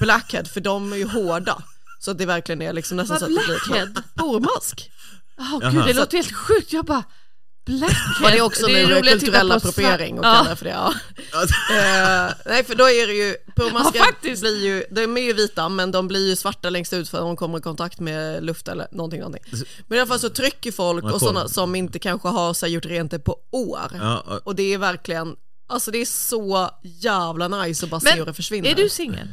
S3: blackhead, för de är ju hårda. Så att det verkligen är liksom nästan
S4: Vad
S3: så att det blir
S4: blackhead?
S3: Pormask.
S4: Åh gud, det låter helt sjukt. Jag bara, blackhead.
S3: Var det också nu
S4: roligt att titta
S3: kulturell
S4: på
S3: appropriering och
S4: svart-
S3: kallar det för det? Ja. Eh, nej för då är det ju,
S4: Ja,
S3: purmaskar
S4: faktiskt.
S3: blir ju, de är ju vita men de blir ju svarta längst ut för att de kommer i kontakt med luft eller någonting, någonting. Men i alla fall så trycker folk
S2: Ja,
S3: och
S2: kolla.
S3: sådana som inte kanske har så här, gjort rent det på år.
S2: Ja, och-
S3: Och det är verkligen, alltså det är så jävla nice att bara se hur det
S4: Men
S3: försvinner.
S4: är du singel?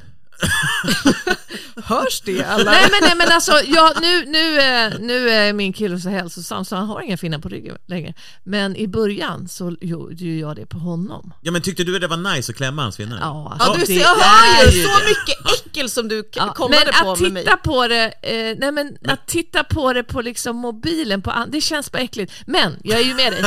S3: Hörs det eller?
S4: Nej men, nej, men alltså, jag, nu, nu, eh, nu är min kille så hälsosam så han har inga finnar på ryggen längre. Men i början så gjorde ju jag det på honom.
S2: Ja men tyckte du det var nice att klämma hans finnar?
S4: Ja,
S3: Ja, du
S4: det
S3: ser, jag hör
S4: är
S3: ju
S4: det.
S3: så mycket äckel som du k-
S4: Ja,
S3: kollade
S4: men
S3: på
S4: att
S3: med
S4: titta
S3: mig.
S4: på det, eh, nej men, att titta på det på liksom mobilen, på, an- det känns bara äckligt. Men jag är ju med dig,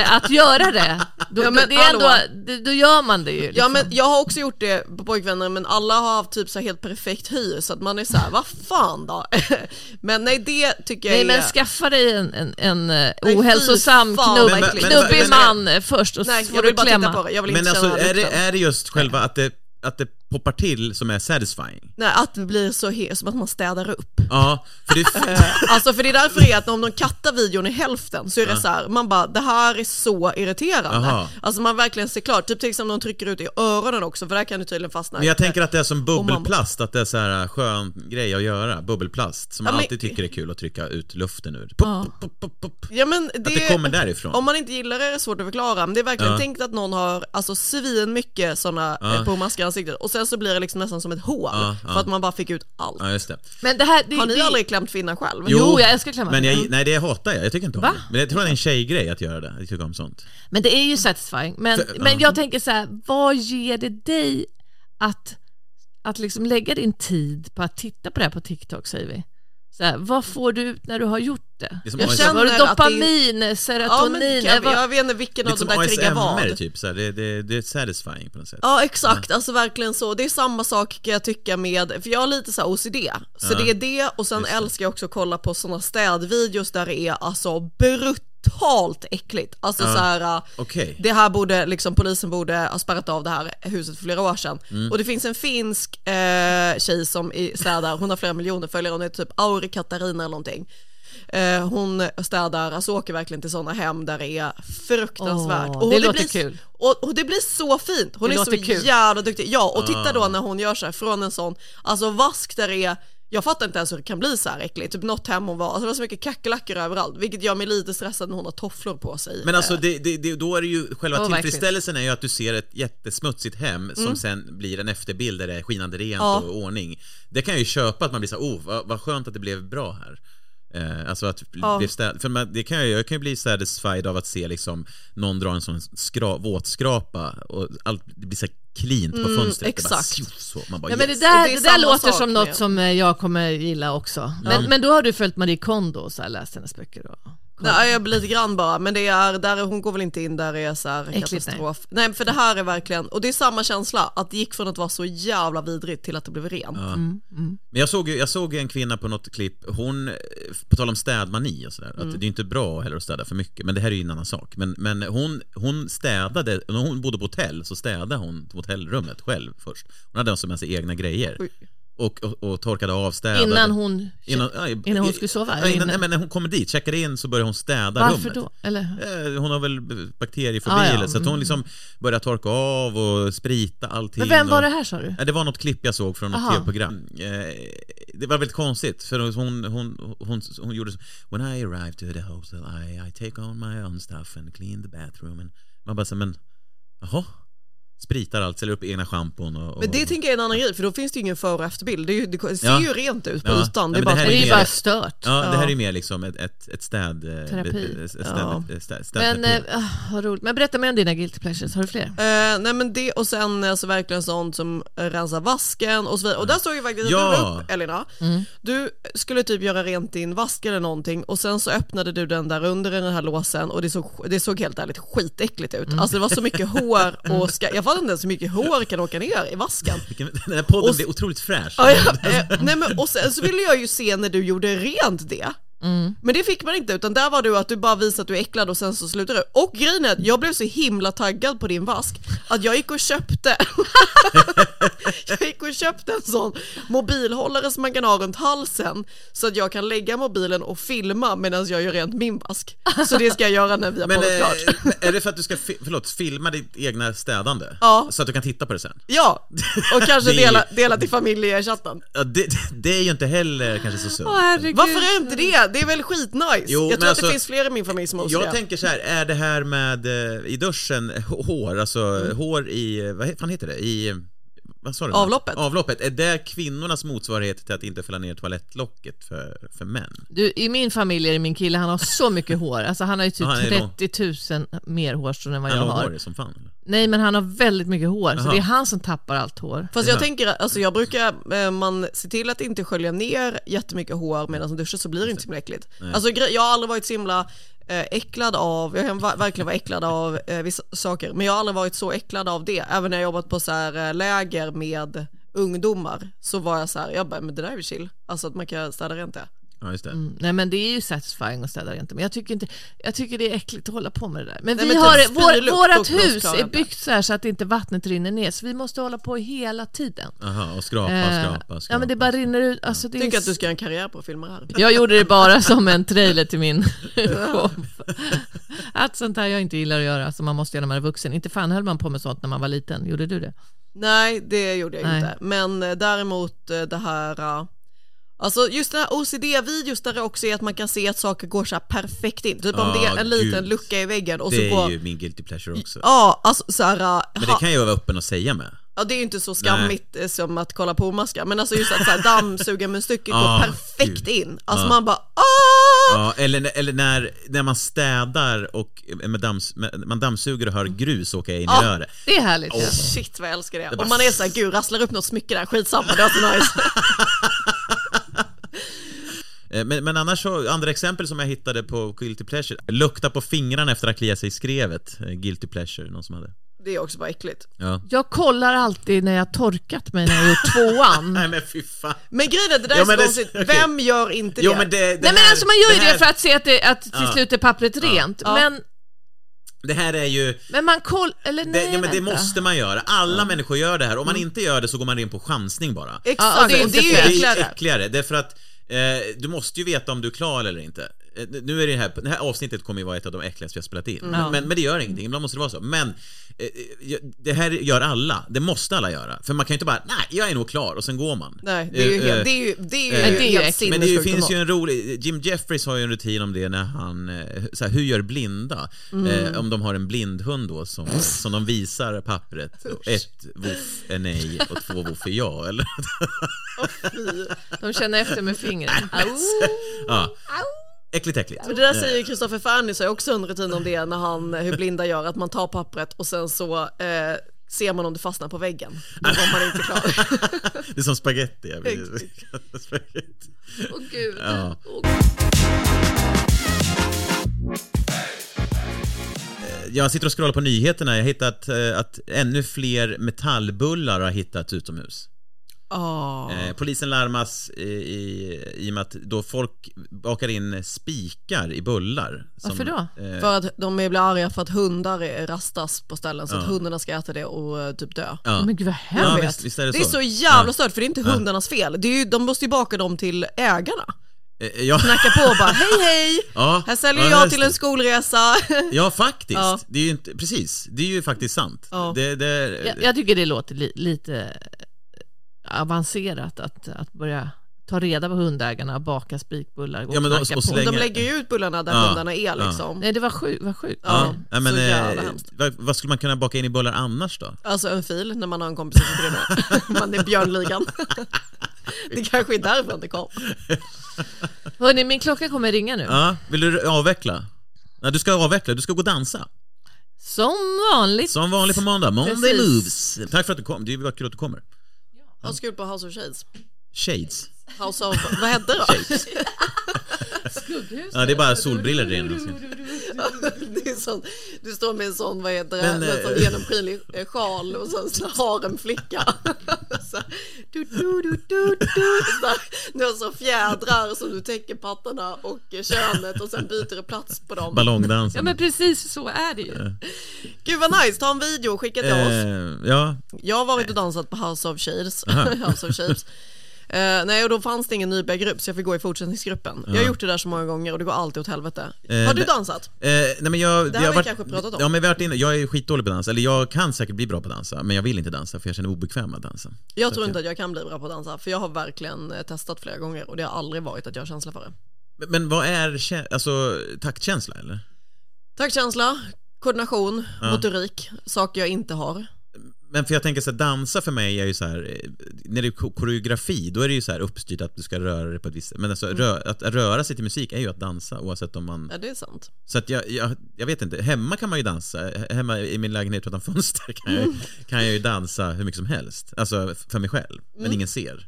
S4: eh, att göra det, då,
S3: Ja, men
S4: det är ändå,
S3: hallå.
S4: det, då gör man det ju. Liksom.
S3: Ja men jag har också gjort det på pojkvänner men alla har haft typ så här helt perfekt hy så att man är så här, vad fan då? men nej det tycker jag
S4: Nej
S3: är...
S4: men skaffa dig en, en, en eh,
S3: fy
S4: ohälsosam,
S3: fan,
S4: knubb,
S2: vad äckligt.
S4: knubbig
S2: Men- men-
S4: man eh, först och
S3: nej
S4: så får
S3: jag
S4: du
S3: vill bara
S4: klämma.
S3: titta på det, jag vill
S2: Men
S3: inte
S2: alltså
S3: känna liksom-
S2: är det,
S3: lukten.
S2: är det just själva att det, att det poppar till som är satisfying?
S3: Nej att det blir så he- som att man städar upp.
S2: Ja, för det är
S3: Alltså för det är därför det är att om de kattar videon i hälften så är det så här, man bara det här är så irriterande.
S2: Aha.
S3: Alltså man verkligen ser klart, typ till exempel om de trycker ut i öronen också för där kan du tydligen fastna.
S2: Men jag tänker att det är som
S3: mamma.
S2: bubbelplast, att det är så här äh, skön grej att göra, bubbelplast, som
S3: Ja,
S2: man
S3: men-
S2: alltid tycker är kul att trycka ut luften ur. Pop, pop, pop, pop, pop.
S3: Ja, men det,
S2: Att det kommer därifrån.
S3: Om man inte gillar det är det svårt att förklara, men det är verkligen
S2: Ja.
S3: tänkt att någon har alltså, svin mycket sådana
S2: Ja.
S3: ja. på maskar i ansiktet och sen så blir det liksom nästan som ett hål
S2: Ja,
S3: för
S2: ja.
S3: att man bara fick ut allt.
S2: Ja, just det.
S4: Men det här, det,
S3: Har ni
S4: det,
S3: aldrig klämt finna själv?
S4: Jo, jag älskar klämma.
S2: Men jag, nej, det hatar jag. Jag tycker inte om
S4: Va?
S2: det. Men jag tror att det är en tjejgrej att göra det. Jag tycker om sånt.
S4: Men det är ju satisfying. Men,
S2: För-
S4: men
S2: ja.
S4: jag tänker så här, vad ger det dig att, att liksom lägga din tid på att titta på det här på TikTok säger vi? Så här, vad får du ut när du har gjort det?
S2: Det är som
S4: Jag
S2: AS-
S4: känner var det
S3: att det är-
S4: dopamin,
S3: Ja,
S4: serotonin?
S3: men,
S4: eh,
S3: jag,
S4: vad-
S3: jag vet inte vilken av
S2: Lite
S3: de
S2: som
S3: där triggar
S2: ASMR,
S3: vad.
S2: typ. Så här. Det, det, det är satisfying på något sätt.
S3: Ja exakt, alltså verkligen så. Det är samma sak kan jag tycka med, för jag har lite så här OCD. Så
S2: Ja.
S3: det är det och sen
S2: Just det.
S3: älskar jag också att kolla på sådana städvideos där det är alltså brutalt äckligt. Alltså
S2: Ja.
S3: så här, äh,
S2: Okej.
S3: det här borde, liksom polisen borde ha spärrat av det här huset för flera år sedan.
S4: Mm.
S3: Och det finns en finsk eh, tjej som i- städar, hon har flera miljoner följare, hon heter typ Auri Katarina eller någonting. Eh, hon städar, alltså åker verkligen till sådana hem där det är fruktansvärt.
S4: Åh,
S3: hon-
S4: det låter
S3: blir,
S4: kul.
S3: Och, och det blir så fint, hon
S4: Det
S3: är så
S4: låter kul. Ah.
S3: jävla duktig. Ja, och titta då när hon gör så här från en sån, alltså vask där det är jag fattar inte ens hur det kan bli så här äckligt, typ något hem hon var, alltså det var så mycket kackerlackor överallt, vilket gör mig lite stressad när hon har tofflor på sig.
S2: Men alltså, det, det, det, då är det ju, själva
S4: Åh, verkligen.
S2: tillfredsställelsen är ju att du ser ett jättesmutsigt hem som sen blir en efterbild där det är skinande rent
S3: Ja.
S2: och ordning. Det kan jag ju köpa, att man blir så här, oh, vad, vad skönt att det blev bra här. Eh, alltså att
S3: Ja.
S2: bli städ, för man, det kan jag, jag kan ju bli satisfied av att se liksom någon dra en sån skra, våtskrapa och allt det blir så här klint på
S3: Mm,
S2: fönstret. Det bara,
S3: exakt.
S2: tjoff, så. Man bara,
S4: Ja, men det
S2: yes.
S4: där,
S3: Och det
S4: det
S3: är
S4: där
S3: samma
S4: låter
S3: sak
S4: som något
S3: med-
S4: som eh, jag kommer gilla också. Men,
S3: Ja.
S4: men då har du följt Marie Kondo så här, läst hennes böcker? Då.
S3: Nej, jag blir lite grann bara, men det är, där, är- hon går väl inte in där det är så här
S4: Äckligt, nej.
S3: katastrof. Nej. för det här är verkligen, och det är samma känsla, att det gick från att vara så jävla vidrigt till att det blev rent.
S2: Ja. Men jag såg, ju- jag såg ju en kvinna på något klipp, hon, eh, på tal om städmani och sådär, att
S3: Mm.
S2: det är ju inte bra heller att städa för mycket, men det här är ju en annan sak. Men, men hon, hon städade, när hon bodde på hotell så städade hon hotellrummet själv först. Hon hade alltså med sig egna grejer.
S3: Oj.
S2: Och, och, och torkade av, städade.
S4: Innan hon-
S2: ja, i-
S4: innan hon skulle sova,
S2: Ja,
S4: eller
S2: innan,
S4: innan-
S2: nej, men när hon kommer dit, checkar in så börjar hon städa
S4: Varför
S2: rummet.
S4: då? Eller?
S2: Eh, Hon har väl bakteriefobi
S4: Ah, ja.
S2: eller så att hon liksom börjar torka av och sprita allting.
S4: Men vem var
S2: och-
S4: det här sa du?
S2: Ja, Det var något klipp jag såg från något
S4: Aha.
S2: tv-program. Eh, Det var väldigt konstigt, för hon, hon, hon, hon, hon gjorde så When I arrive to the hotel I, I take on my own stuff and clean the bathroom. And man bara så, men jaha? Spritar allt, ställer upp egna schampon och... och
S3: Men det tänker jag är typ- en annan grej, för då finns det ju ingen före och efterbild. Det, är ju, det ser
S2: Ja.
S3: ju rent ut på
S2: Ja.
S3: ytan.
S2: Nej, men
S3: det är bara,
S2: här ju mer- Ja, det här är
S3: Ja.
S2: ju mer liksom ett, ett, ett städ... eh,
S4: Terapi.
S2: ett- ett städ-
S3: Ja.
S2: ett städ-
S4: Men,
S2: städterapi.
S4: eh, ah, vad roligt. Men berätta mer om dina guilty pleasures, har du fler?
S3: Eh, nej men det och sen alltså verkligen sånt som eh, rensa vasken och så vidare. Och där såg ju faktiskt att
S2: Ja.
S3: du la upp Elina. Du skulle typ göra rent din vask eller någonting och sen så öppnade du den där under den här låsen och det såg, det såg helt ärligt skitäckligt ut. Alltså det var så mycket hår och ska, jag fattar inte ens hur mycket hår kan åka ner i vasken.
S2: Vilken- Den här podden blir otroligt fräsch.
S3: Ja, ja, eh, nej men, och sen så ville jag ju se när du gjorde rent det.
S2: Mm.
S3: Men det fick man inte utan där var du att du bara visade att du är äcklad och sen så slutade du. Och grejen är att jag blev så himla taggad på din vask att jag gick och köpte Jag gick och köpte en sån mobilhållare som man kan ha runt halsen så att jag kan lägga mobilen och filma medan jag gör rent min vask. Så det ska jag göra när vi har
S2: Men
S3: poddat klart.
S2: eh, är det för att du ska fi- förlåt, filma ditt egna städande?
S3: Ja.
S2: Så att du kan titta på det sen?
S3: Ja, och kanske
S2: Det-
S3: dela, dela till familjechatten.
S2: Ja, det, det är ju inte heller kanske så sunt.
S3: Varför är inte det? Det är väl skitnice?
S2: Jo,
S3: jag
S2: men
S3: tror att
S2: alltså,
S3: det finns fler i min familj som har
S2: Jag
S3: det.
S2: tänker så här, är det här med eh, i duschen, h- hår, alltså
S4: Mm.
S2: hår i, eh, vad he- fan heter det, i eh, vad sa du?
S3: Avloppet.
S2: Avloppet, är det kvinnornas motsvarighet till att inte fälla ner toalettlocket för, för män?
S4: Du, I min familj är det min kille, han har så mycket hår. Alltså, han har ju typ
S2: Ja, han är lång.
S4: 30 000 mer hårstrån än vad
S2: Han
S4: jag
S2: har hår
S4: har.
S2: som fan. eller?
S4: Nej, men han har väldigt mycket hår, så
S2: Aha.
S4: det är han som tappar allt hår.
S3: Fast
S2: Mm.
S3: jag tänker, alltså jag brukar, eh, man ser till att inte skölja ner jättemycket hår medan man duschar så blir det inte så himla äckligt. Alltså gre- jag har aldrig varit så himla eh, äcklad av, jag kan va- verkligen vara äcklad av eh, vissa saker, men jag har aldrig varit så äcklad av det. Även när jag jobbat på så här eh, läger med ungdomar så var jag så här, jag bara, men det där är ju chill. Alltså att man kan städa rent det.
S2: Ja, just det.
S4: Mm, nej men det är ju satisfying att städa rent men jag tycker, inte, jag tycker det är äckligt att hålla på med det där. Men
S3: Nej,
S4: vi
S3: men
S4: har,
S3: typ
S4: vår,
S3: spylukt
S4: vårat
S3: och plus
S4: hus
S3: klarar
S4: är
S3: det.
S4: byggt så här så att inte vattnet rinner ner så vi måste hålla på hela tiden.
S2: Aha, och skrapa,
S4: Eh,
S2: skrapa, skrapa.
S4: Ja men det bara rinner ut. Alltså, det är
S3: Tycker att du
S4: s-
S3: ska göra en karriär på att filma det här.
S4: Jag gjorde det bara som en trailer till min show. Att sånt här jag inte gillar att göra som man måste göra när man är vuxen. Inte fan höll man på med sånt när man var liten. Gjorde du det?
S3: Nej, det gjorde jag
S4: Nej.
S3: inte. Men eh, däremot eh, det här, eh, alltså just den här OCD-videos där det också är att man kan se att saker går så här perfekt in. Typ om
S2: Ah,
S3: det är en liten
S2: gud.
S3: lucka i väggen och så
S2: det är
S3: går...
S2: ju min guilty pleasure också.
S3: Ja, alltså så här, eh,
S2: Men det
S3: ha-
S2: kan jag vara öppen och säga med.
S3: ja, det är ju inte så skammigt eh, som att kolla på omaska, men alltså just att så här, dammsugarmunstycket
S2: Ah,
S3: går perfekt
S2: gud.
S3: in. Alltså
S2: Ah.
S3: man bara ah!
S2: Ja, eller, eller när, när man städar och eh, med damms, med, man dammsuger och hör
S4: Mm.
S2: grus åka in i örat.
S4: Det är härligt. ja.
S3: Shit vad jag älskar det.
S2: Det bara-
S3: Och man är såhär, gud rasslar upp något smycke där, skitsamma, det var så nice.
S2: Eh, Men, men annars så, andra exempel som jag hittade på Guilty Pleasure. Lukta på fingrarna efter att klia sig i skrevet. Eh, Guilty Pleasure, någon som hade.
S3: Det är också bara äckligt.
S2: Ja.
S4: Jag kollar alltid när jag har torkat mig när jag har gjort tvåan.
S2: Nej men fy fan.
S3: Men grejen är, det där
S2: Ja,
S3: är så
S2: men det-
S3: konstigt,
S2: okej.
S3: vem gör inte
S2: Jo
S3: det?
S2: men det, det
S4: Nej men
S2: här-
S4: alltså man gör ju det,
S2: här,
S4: för att se att, det, att till
S2: Ja.
S4: slut är pappret rent.
S3: Ja.
S4: Men,
S2: Det här är ju...
S4: men man koll... Eller nej,
S2: Det, ja, men det
S4: vänta. Mm.
S2: måste man göra. Alla människor gör det här. Om man inte gör det så går man in på chansning bara.
S3: Exakt,
S4: Ja, och
S3: det,
S4: det är
S3: det är ju
S2: Det är ju
S3: äckligare.
S2: äckligare, därför att eh, du måste ju veta om du är klar eller inte. Eh, Nu är det här, det här avsnittet kommer ju vara ett av de äckligaste vi har spelat in.
S3: Mm.
S2: Men, men det gör ingenting, ibland måste det vara så. Men eh, eh, det här gör alla, det måste alla göra. För man kan ju inte bara, nej, jag är nog klar och sen går man.
S3: Nej, det är ju
S2: Eh,
S3: helt,
S2: eh,
S3: det är ju, det är ju,
S2: eh,
S3: helt
S4: det är ju äckligt.
S2: men det ju,
S3: sinnessjukt
S2: finns ju
S3: normalt.
S2: en rolig, Jim Jeffries har ju en rutin om det när han, eh, så här, hur gör blinda?
S3: Mm.
S2: Eh, om de har en blindhund då som, som de visar pappret, ett voff är nej och två voff är ja, eller?
S4: De känner efter med fingret.
S2: ja. Äckligt, äckligt.
S3: Men det där säger ju Kristoffer Fernis har ju också en rutin om det när han, hur blinda gör, att man tar pappret och sen så eh, ser man om det fastnar på väggen. Då var man inte klar.
S2: Det är som spagetti. Jag vill- spagetti.
S3: Åh gud.
S2: Ja. Eh, Jag sitter och scrollar på nyheterna. Jag har hittat eh, att ännu fler metallbullar har hittats utomhus.
S3: Ja.
S2: Eh, Polisen larmas i, i, i och med att då folk bakar in spikar i bullar. som,
S3: Varför då?
S2: eh,
S3: För att de blir arga för att hundar är- rastas på ställen så att
S2: Ja.
S3: hundarna ska äta det och eh, typ dö.
S2: Ja. Men gud, vad hemskt. Ja,
S3: Jag vet.
S2: visst- visst är det
S3: är
S2: så.
S3: så jävla
S2: Ja.
S3: stört för det är inte
S2: Ja.
S3: hundarnas fel. Det är ju, de måste ju baka dem till ägarna.
S2: eh, ja.
S3: Knacka på och bara hej hej,
S2: Ja.
S3: här säljer
S2: Ja,
S3: jag
S2: just
S3: till
S2: det.
S3: en skolresa.
S2: Ja, faktiskt.
S3: Ja.
S2: Det är ju inte, precis, det är ju faktiskt sant.
S3: Ja.
S2: Det, det,
S4: Jag, jag tycker det låter li, lite avancerat att, att börja ta reda på hundägarna och baka spikbullar och
S2: Ja, men de-
S4: knacka
S2: och
S4: på.
S2: slänga-
S3: De lägger ju ut bullarna där
S2: Ja.
S3: hundarna är
S2: Ja.
S3: liksom.
S4: Nej, det var sjukt. Vad sjukt.
S2: ja. Ja, men,
S3: så jävla
S2: eh,
S3: hemskt.
S2: vad, vad skulle man kunna baka in i bullar annars då?
S3: Alltså en fil när man har en kompis som sitter inne. Man är björnligan. Det kanske är därifrån det kom.
S4: Hörni, min klocka kommer ringa nu.
S2: Ja, vill du avveckla? Nej, du ska avveckla, du ska gå och dansa.
S4: Som vanligt.
S2: Som vanligt på måndag, Monday
S4: Precis.
S2: Moves. Tack för att du kom, det var kul att du kommer.
S3: Jag har skrivit på House of Shades.
S2: Shades.
S3: House of, vad hette det då?
S2: Ja, det är bara solbriller där inne.
S3: det är sån, du står med en sån, vad heter det,
S2: Men,
S3: med en sån
S2: eh,
S3: genomskinlig eh, sjal och sen så har en flicka. så, här, du, du, du, du, du, så här, du har så fjädrar som du täcker pattarna och eh, könet och sen byter du plats på dem.
S2: Ballongdansen.
S4: Ja, men precis så är det ju.
S3: Gud vad nice, ta en video och skicka till oss.
S2: Eh, ja,
S3: Jag har varit och
S2: Eh.
S3: dansat på House of Shades. House of Shades. Eh, nej, och då fanns det ingen nybörjargrupp så jag fick gå i fortsättningsgruppen. Jag har
S2: Ja.
S3: gjort det där så många gånger och det går alltid åt helvete.
S2: Eh,
S3: har du
S2: det-
S3: dansat?
S2: Eh, nej men jag,
S3: Det har
S2: jag
S3: vi kanske pratat om.
S2: Ja, men vi har varit inne, jag är skitdålig på att dansa, eller jag kan säkert bli bra på att dansa, men jag vill inte dansa för jag känner mig obekväm med att dansa.
S3: Jag tror inte att jag kan bli bra på att dansa för jag har verkligen eh, testat flera gånger och det har aldrig varit att jag har känsla för det.
S2: Men, men vad är kä- alltså, taktkänsla eller?
S3: Taktkänsla, koordination,
S2: Ja.
S3: motorik, saker jag inte har.
S2: Men för jag tänker så här, dansa för mig är ju så här, eh, när det är ko- koreografi, då är det ju så här uppstyrt att du ska röra dig på ett visst sätt. Men
S3: Mm.
S2: alltså, rö, att, att röra sig till musik är ju att dansa oavsett om man...
S3: Ja, det är sant.
S2: Så att jag, jag, jag vet inte, hemma kan man ju dansa, He- hemma i min lägenhet utan fönster kan jag, kan jag ju dansa hur mycket som helst. Alltså f- för mig själv,
S3: Mm.
S2: men ingen ser.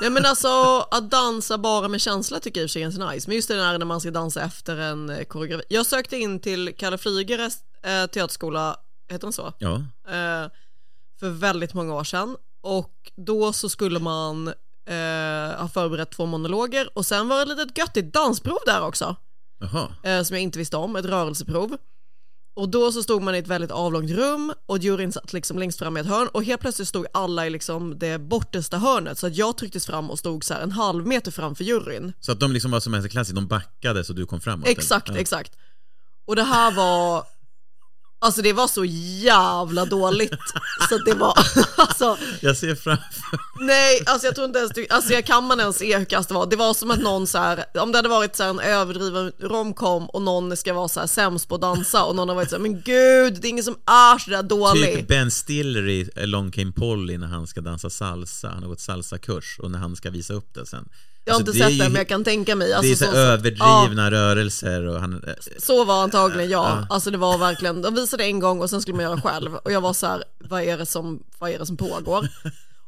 S3: Nej men alltså att dansa bara med känsla tycker jag i och för sig är ganska nice. Men just det där när man ska dansa efter en eh, koreografi. Jag sökte in till Kalle Flygeres eh, teaterskola, heter den så?
S2: Ja.
S3: eh, för väldigt många år sedan och då så skulle man eh, ha förberett två monologer och sen var det ett litet göttigt dansprov där också
S2: Jaha.
S3: eh, som jag inte visste om, ett rörelseprov. Och då så stod man i ett väldigt avlångt rum och juryn satt liksom längst fram i ett hörn och helt plötsligt stod alla i liksom det bortersta hörnet så att jag trycktes fram och stod så här en halv meter framför juryn.
S2: Så att de liksom var som en klassisk, de backade så du kom framåt?
S3: Exakt,
S2: eller?
S3: exakt. Och det här var, alltså det var så jävla dåligt så att det var, alltså
S2: Jag ser framför
S3: Nej, alltså jag tror inte ens, du- alltså jag kan man ens se hur kast det var. Det var som att någon så här, om det hade varit så här en överdriven romcom och någon ska vara så här sämst på att dansa och någon har varit så här, men gud, det är ingen som är så där dålig.
S2: typ Ben Stiller i Long Came Polly när han ska dansa salsa, han har gått salsakurs och när han ska visa upp det sen.
S3: jag har
S2: Alltså,
S3: inte
S2: är
S3: sett
S2: ju-
S3: det, men jag kan tänka mig.
S2: det är
S3: Alltså,
S2: så,
S3: så,
S2: överdrivna rörelser och han... eh,
S3: Ja, så var antagligen jag. Alltså det var verkligen, de visade en gång och sen skulle man göra själv. Och jag var så här, vad är det som, vad är det som pågår?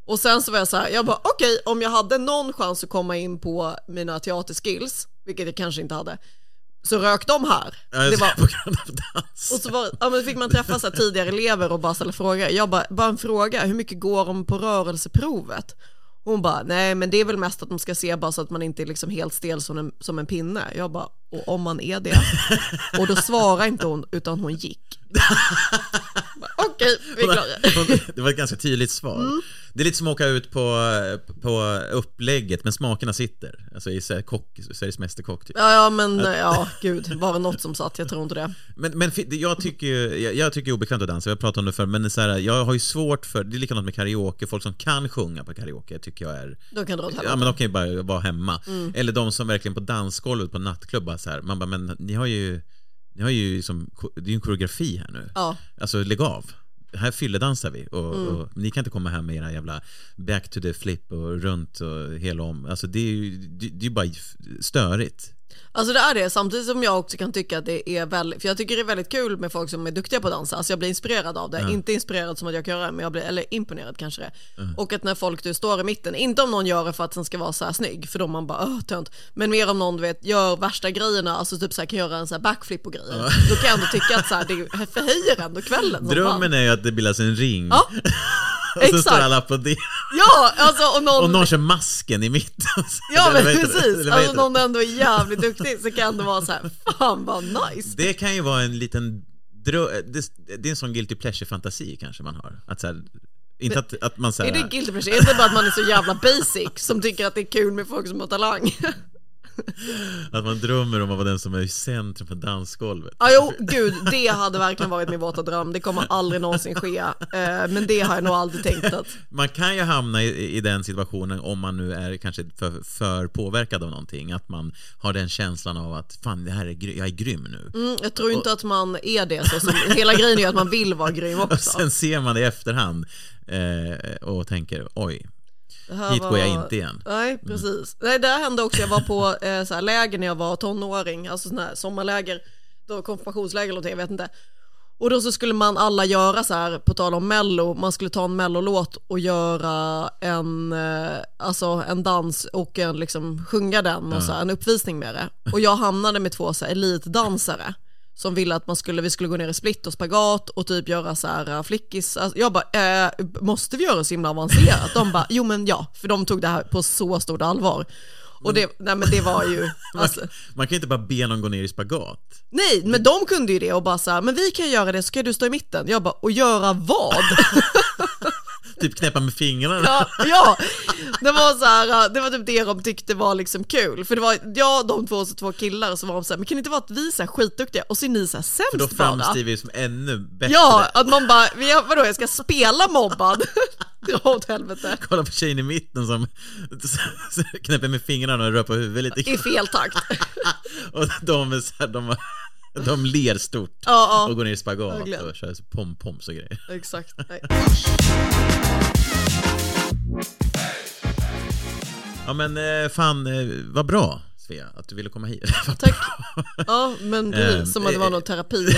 S3: Och sen så var jag så här, jag bara okej, om jag hade någon chans att komma in på mina teaterskills, vilket jag kanske inte hade, så rök de här.
S2: eh,
S3: Det var
S2: På grund av dans.
S3: Och så var, ja, men fick man träffa så här tidigare elever och bara ställa frågor. Jag bara, bara en fråga, hur mycket går de på rörelseprovet? Hon bara, nej men det är väl mest att de ska se bara så att man inte är liksom helt stel som en, som en pinne. Jag bara, och om man är det? Och då svarade inte hon, utan hon gick. Jag bara, Okej, vi är Mm. klara.
S2: Det var ett ganska tydligt svar. Det är lite som att åka ut på, på upplägget, men smakerna sitter. Alltså i så här kock, Sveriges Mästerkock typ.
S3: Ja, ja men ja, gud, var det något som satt? Jag tror inte det.
S2: Men, men fi- jag tycker ju, jag, jag tycker det är obekvämt att dansa, vi har pratat om det förr, men det är så här, jag har ju svårt för, det är likadant med karaoke, folk som kan sjunga på karaoke tycker jag är
S3: Då kan du dra åt
S2: Ja
S3: helvete.
S2: men de kan ju bara vara hemma.
S3: Mm.
S2: Eller de som verkligen på dansgolvet på nattklubbar så här, man bara men ni har ju, ni har ju som, det är ju en koreografi här nu.
S3: Ja. Mm.
S2: Alltså lägg av. Här fylledansar vi och, och ni kan inte komma här med era jävla back to the flip och runt och hela om. Alltså det är ju det, det är ju bara störigt.
S3: Alltså det är det, samtidigt som jag också kan tycka att det är väldigt, för jag tycker det är väldigt kul med folk som är duktiga på att dansa, alltså jag blir inspirerad av det,
S2: Mm.
S10: Ja.
S3: inte inspirerad som att jag kan göra det, men jag blir, eller imponerad kanske det
S2: Mm.
S3: Och att när folk du står i mitten, inte om någon gör det för att den ska vara så här snygg, för då man bara öh tönt, men mer om någon du vet gör värsta grejerna, alltså typ så här kan göra en så här backflip och grejer,
S2: Ja.
S3: då kan jag ändå tycka att så här, det förhöjer ändå kvällen. som
S2: Drömmen
S3: fan.
S2: är ju att det bildas en ring.
S3: Ja,
S2: och så står
S3: exakt.
S2: alla och applåderar.
S3: Ja, alltså och någon...
S2: Och någon kör masken i mitten.
S3: Ja men
S2: Eller vad heter det?
S3: precis,
S2: Eller vad
S3: alltså
S2: heter det?
S3: någon ändå är jävligt duktig så kan det vara så här, fan vad nice.
S2: Det kan ju vara en liten drö- det, det är en sån guilty pleasure-fantasi kanske man har. Att så här, inte
S3: Men-
S2: att, att man så här,
S3: Är det guilty pleasure? Är det bara att man är så jävla basic som tycker att det är kul med folk som har talang?
S2: att man drömmer om att vara den som är i centrum på dansgolvet.
S3: Ja, jo, gud, det hade verkligen varit min våta dröm. Det kommer aldrig någonsin ske. Eh, Men det har jag nog aldrig tänkt att...
S2: Man kan ju hamna i, i den situationen om man nu är kanske för, för påverkad av någonting, att man har den känslan av att fan, det här är gry- jag är grym nu.
S3: Mm, jag tror inte att man är det. Så, som, hela grejen är ju att man vill vara grym
S2: Och
S3: också.
S2: sen ser man det i efterhand eh, och tänker oj,
S3: Det här
S2: hit går jag
S3: var-
S2: inte igen.
S3: Nej, precis. Nej, det här hände också. Jag var på eh, så här, läger när jag var tonåring, alltså sån här sommarläger, då konfirmationsläger eller någonting, jag vet inte. Och då så skulle man alla göra så här, på tal om mello, man skulle ta en mellolåt och göra en, eh, alltså en dans och en, liksom sjunga den och så här, en uppvisning med det. Och jag hamnade med två så här, elitdansare som ville att man skulle, vi skulle gå ner i split och spagat och typ göra så här äh, flickis. Alltså, jag bara, äh, måste vi göra så himla avancerat? De bara, jo men ja, för de tog det här på så stort allvar. Och det, nej men det var ju,
S2: Man,
S3: alltså,
S2: man kan ju inte bara be någon gå ner i spagat.
S3: nej men de kunde ju det och bara så här, men vi kan göra det så kan du stå i mitten. Jag bara, och göra vad?
S2: Typ knäppa med fingrarna.
S3: Ja, ja. Det, var så här, det var typ det de tyckte var liksom kul. För det var jag, de två och så två killar och så var de så här, men kan det inte vara att vi är så här skitduktiga och så är ni så här sämst
S2: För då
S3: bara?
S2: framstiger vi som ännu bättre.
S3: Ja, att man bara, vi har- vadå jag ska spela mobbad? Dra åt helvete.
S2: Kolla på tjejen i mitten som knäpper med fingrarna och rör på huvudet lite
S3: I fel takt.
S2: Och de, är så här, de, de ler stort
S3: Ja, ja.
S2: och går ner i spagat
S3: Verkligen.
S2: och kör så pompoms och grejer.
S3: Exakt. Nej.
S2: Ja men eh, fan, eh, vad bra Svea att du ville komma hit. Vad
S3: Tack.
S2: bra.
S3: Ja, men det är som att det var
S2: Eh,
S3: någon terapi.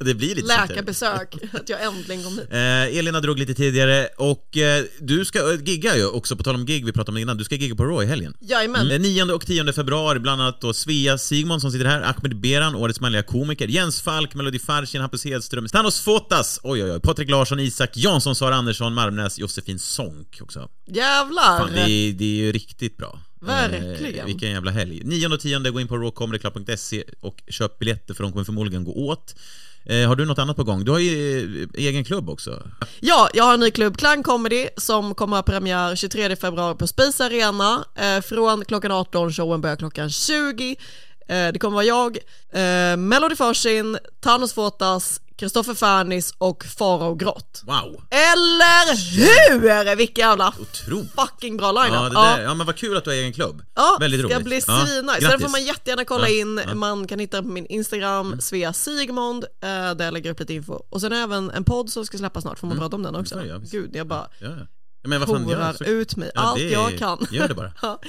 S2: Det blir lite sånt här.
S3: Läkarbesök, att jag äntligen kom hit.
S2: Eh, Elina drog lite tidigare och eh, du ska eh, gigga ju också, på tal om gig vi pratade om innan, du ska gigga på Raw i helgen.
S3: Jajamän.
S2: Mm. Eh, 9 och 10 februari, bland annat då Svea Sigmund som sitter här, Ahmed Beran, Årets manliga komiker, Jens Falk, Melody Farshin, Hampus Hedström, Stanos Fotas, oj oj oj, Patrik Larsson, Isak Jansson, Sara Andersson, Malmnäs, Josefin Sonck också.
S3: Jävlar.
S2: Fan, det, är, det är ju riktigt bra.
S3: Verkligen.
S2: Eh, vilken jävla helg. 9 och 10, gå in på rawcomedyclub.se och köp biljetter för de kommer förmodligen gå åt. Eh, har du något annat på gång? Du har ju eh, egen klubb också.
S3: Ja, jag har en ny klubb, Klang Comedy, som kommer ha premiär 23 februari på Space Arena. Eh, från klockan 18, showen börjar klockan 20. Eh, det kommer vara jag, eh, Melody Farshin, Thanos Fotas, Kristoffer Fernis och Farao Grott.
S2: Wow!
S3: Eller hur? Vilken jävla
S2: Otroligt.
S3: fucking bra lineup.
S2: Ja, det där, ja, men vad kul att du har egen klubb.
S3: Ja,
S2: Väldigt
S3: ska
S2: roligt.
S3: bli
S2: Ja,
S3: svinnice. Sen
S2: grattis.
S3: får man jättegärna kolla
S2: Ja,
S3: in,
S2: ja. Mm.
S3: man kan hitta den på min Instagram, Svea Sigmund, eh, där jag lägger upp lite info. Och sen har jag även en podd som ska släppas snart, får man prata om den också?
S2: Mm. Ja, ja, visst.
S3: Gud, jag bara
S2: Ja, ja. Ja, men vad fan,
S3: horar
S2: gör så-
S3: ut mig
S2: Ja,
S3: allt
S2: det-
S3: jag kan.
S2: Gör det bara.
S3: Ja.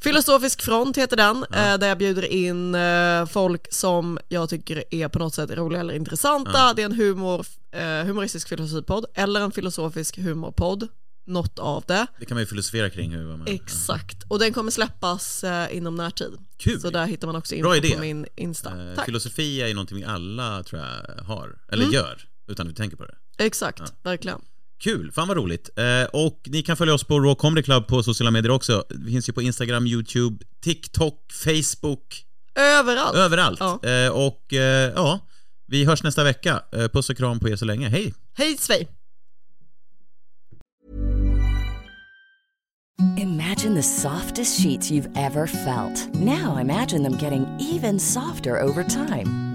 S3: Filosofisk front heter den, eh, där jag bjuder in eh, folk som jag tycker är på något sätt roliga eller intressanta.
S2: Ja.
S3: Det är en humor, eh, humoristisk filosofipodd, eller en filosofisk humorpodd, något av det.
S2: Det kan man ju filosofera kring hur man...
S3: Exakt, och den kommer släppas eh, inom närtid.
S2: Kul.
S3: Så där hittar man också
S2: Bra
S3: info
S2: idé.
S3: på min Insta.
S2: Eh,
S3: Tack.
S2: Filosofi är ju någonting vi alla tror jag har, eller
S3: Mm.
S2: gör, utan att vi tänker på det.
S3: Exakt, verkligen.
S2: Kul, fan vad roligt. Eh, och ni kan följa oss på Raw Comedy Club på sociala medier också. Vi finns ju på Instagram, YouTube, TikTok, Facebook,
S3: Överallt.
S2: överallt.
S3: Ja.
S2: Eh, och eh, ja, vi hörs nästa vecka. Eh, puss och kram på er så länge. Hej!
S3: Hej Svej!
S11: Imagine the softest sheets you've ever felt. Now imagine them getting even softer over time.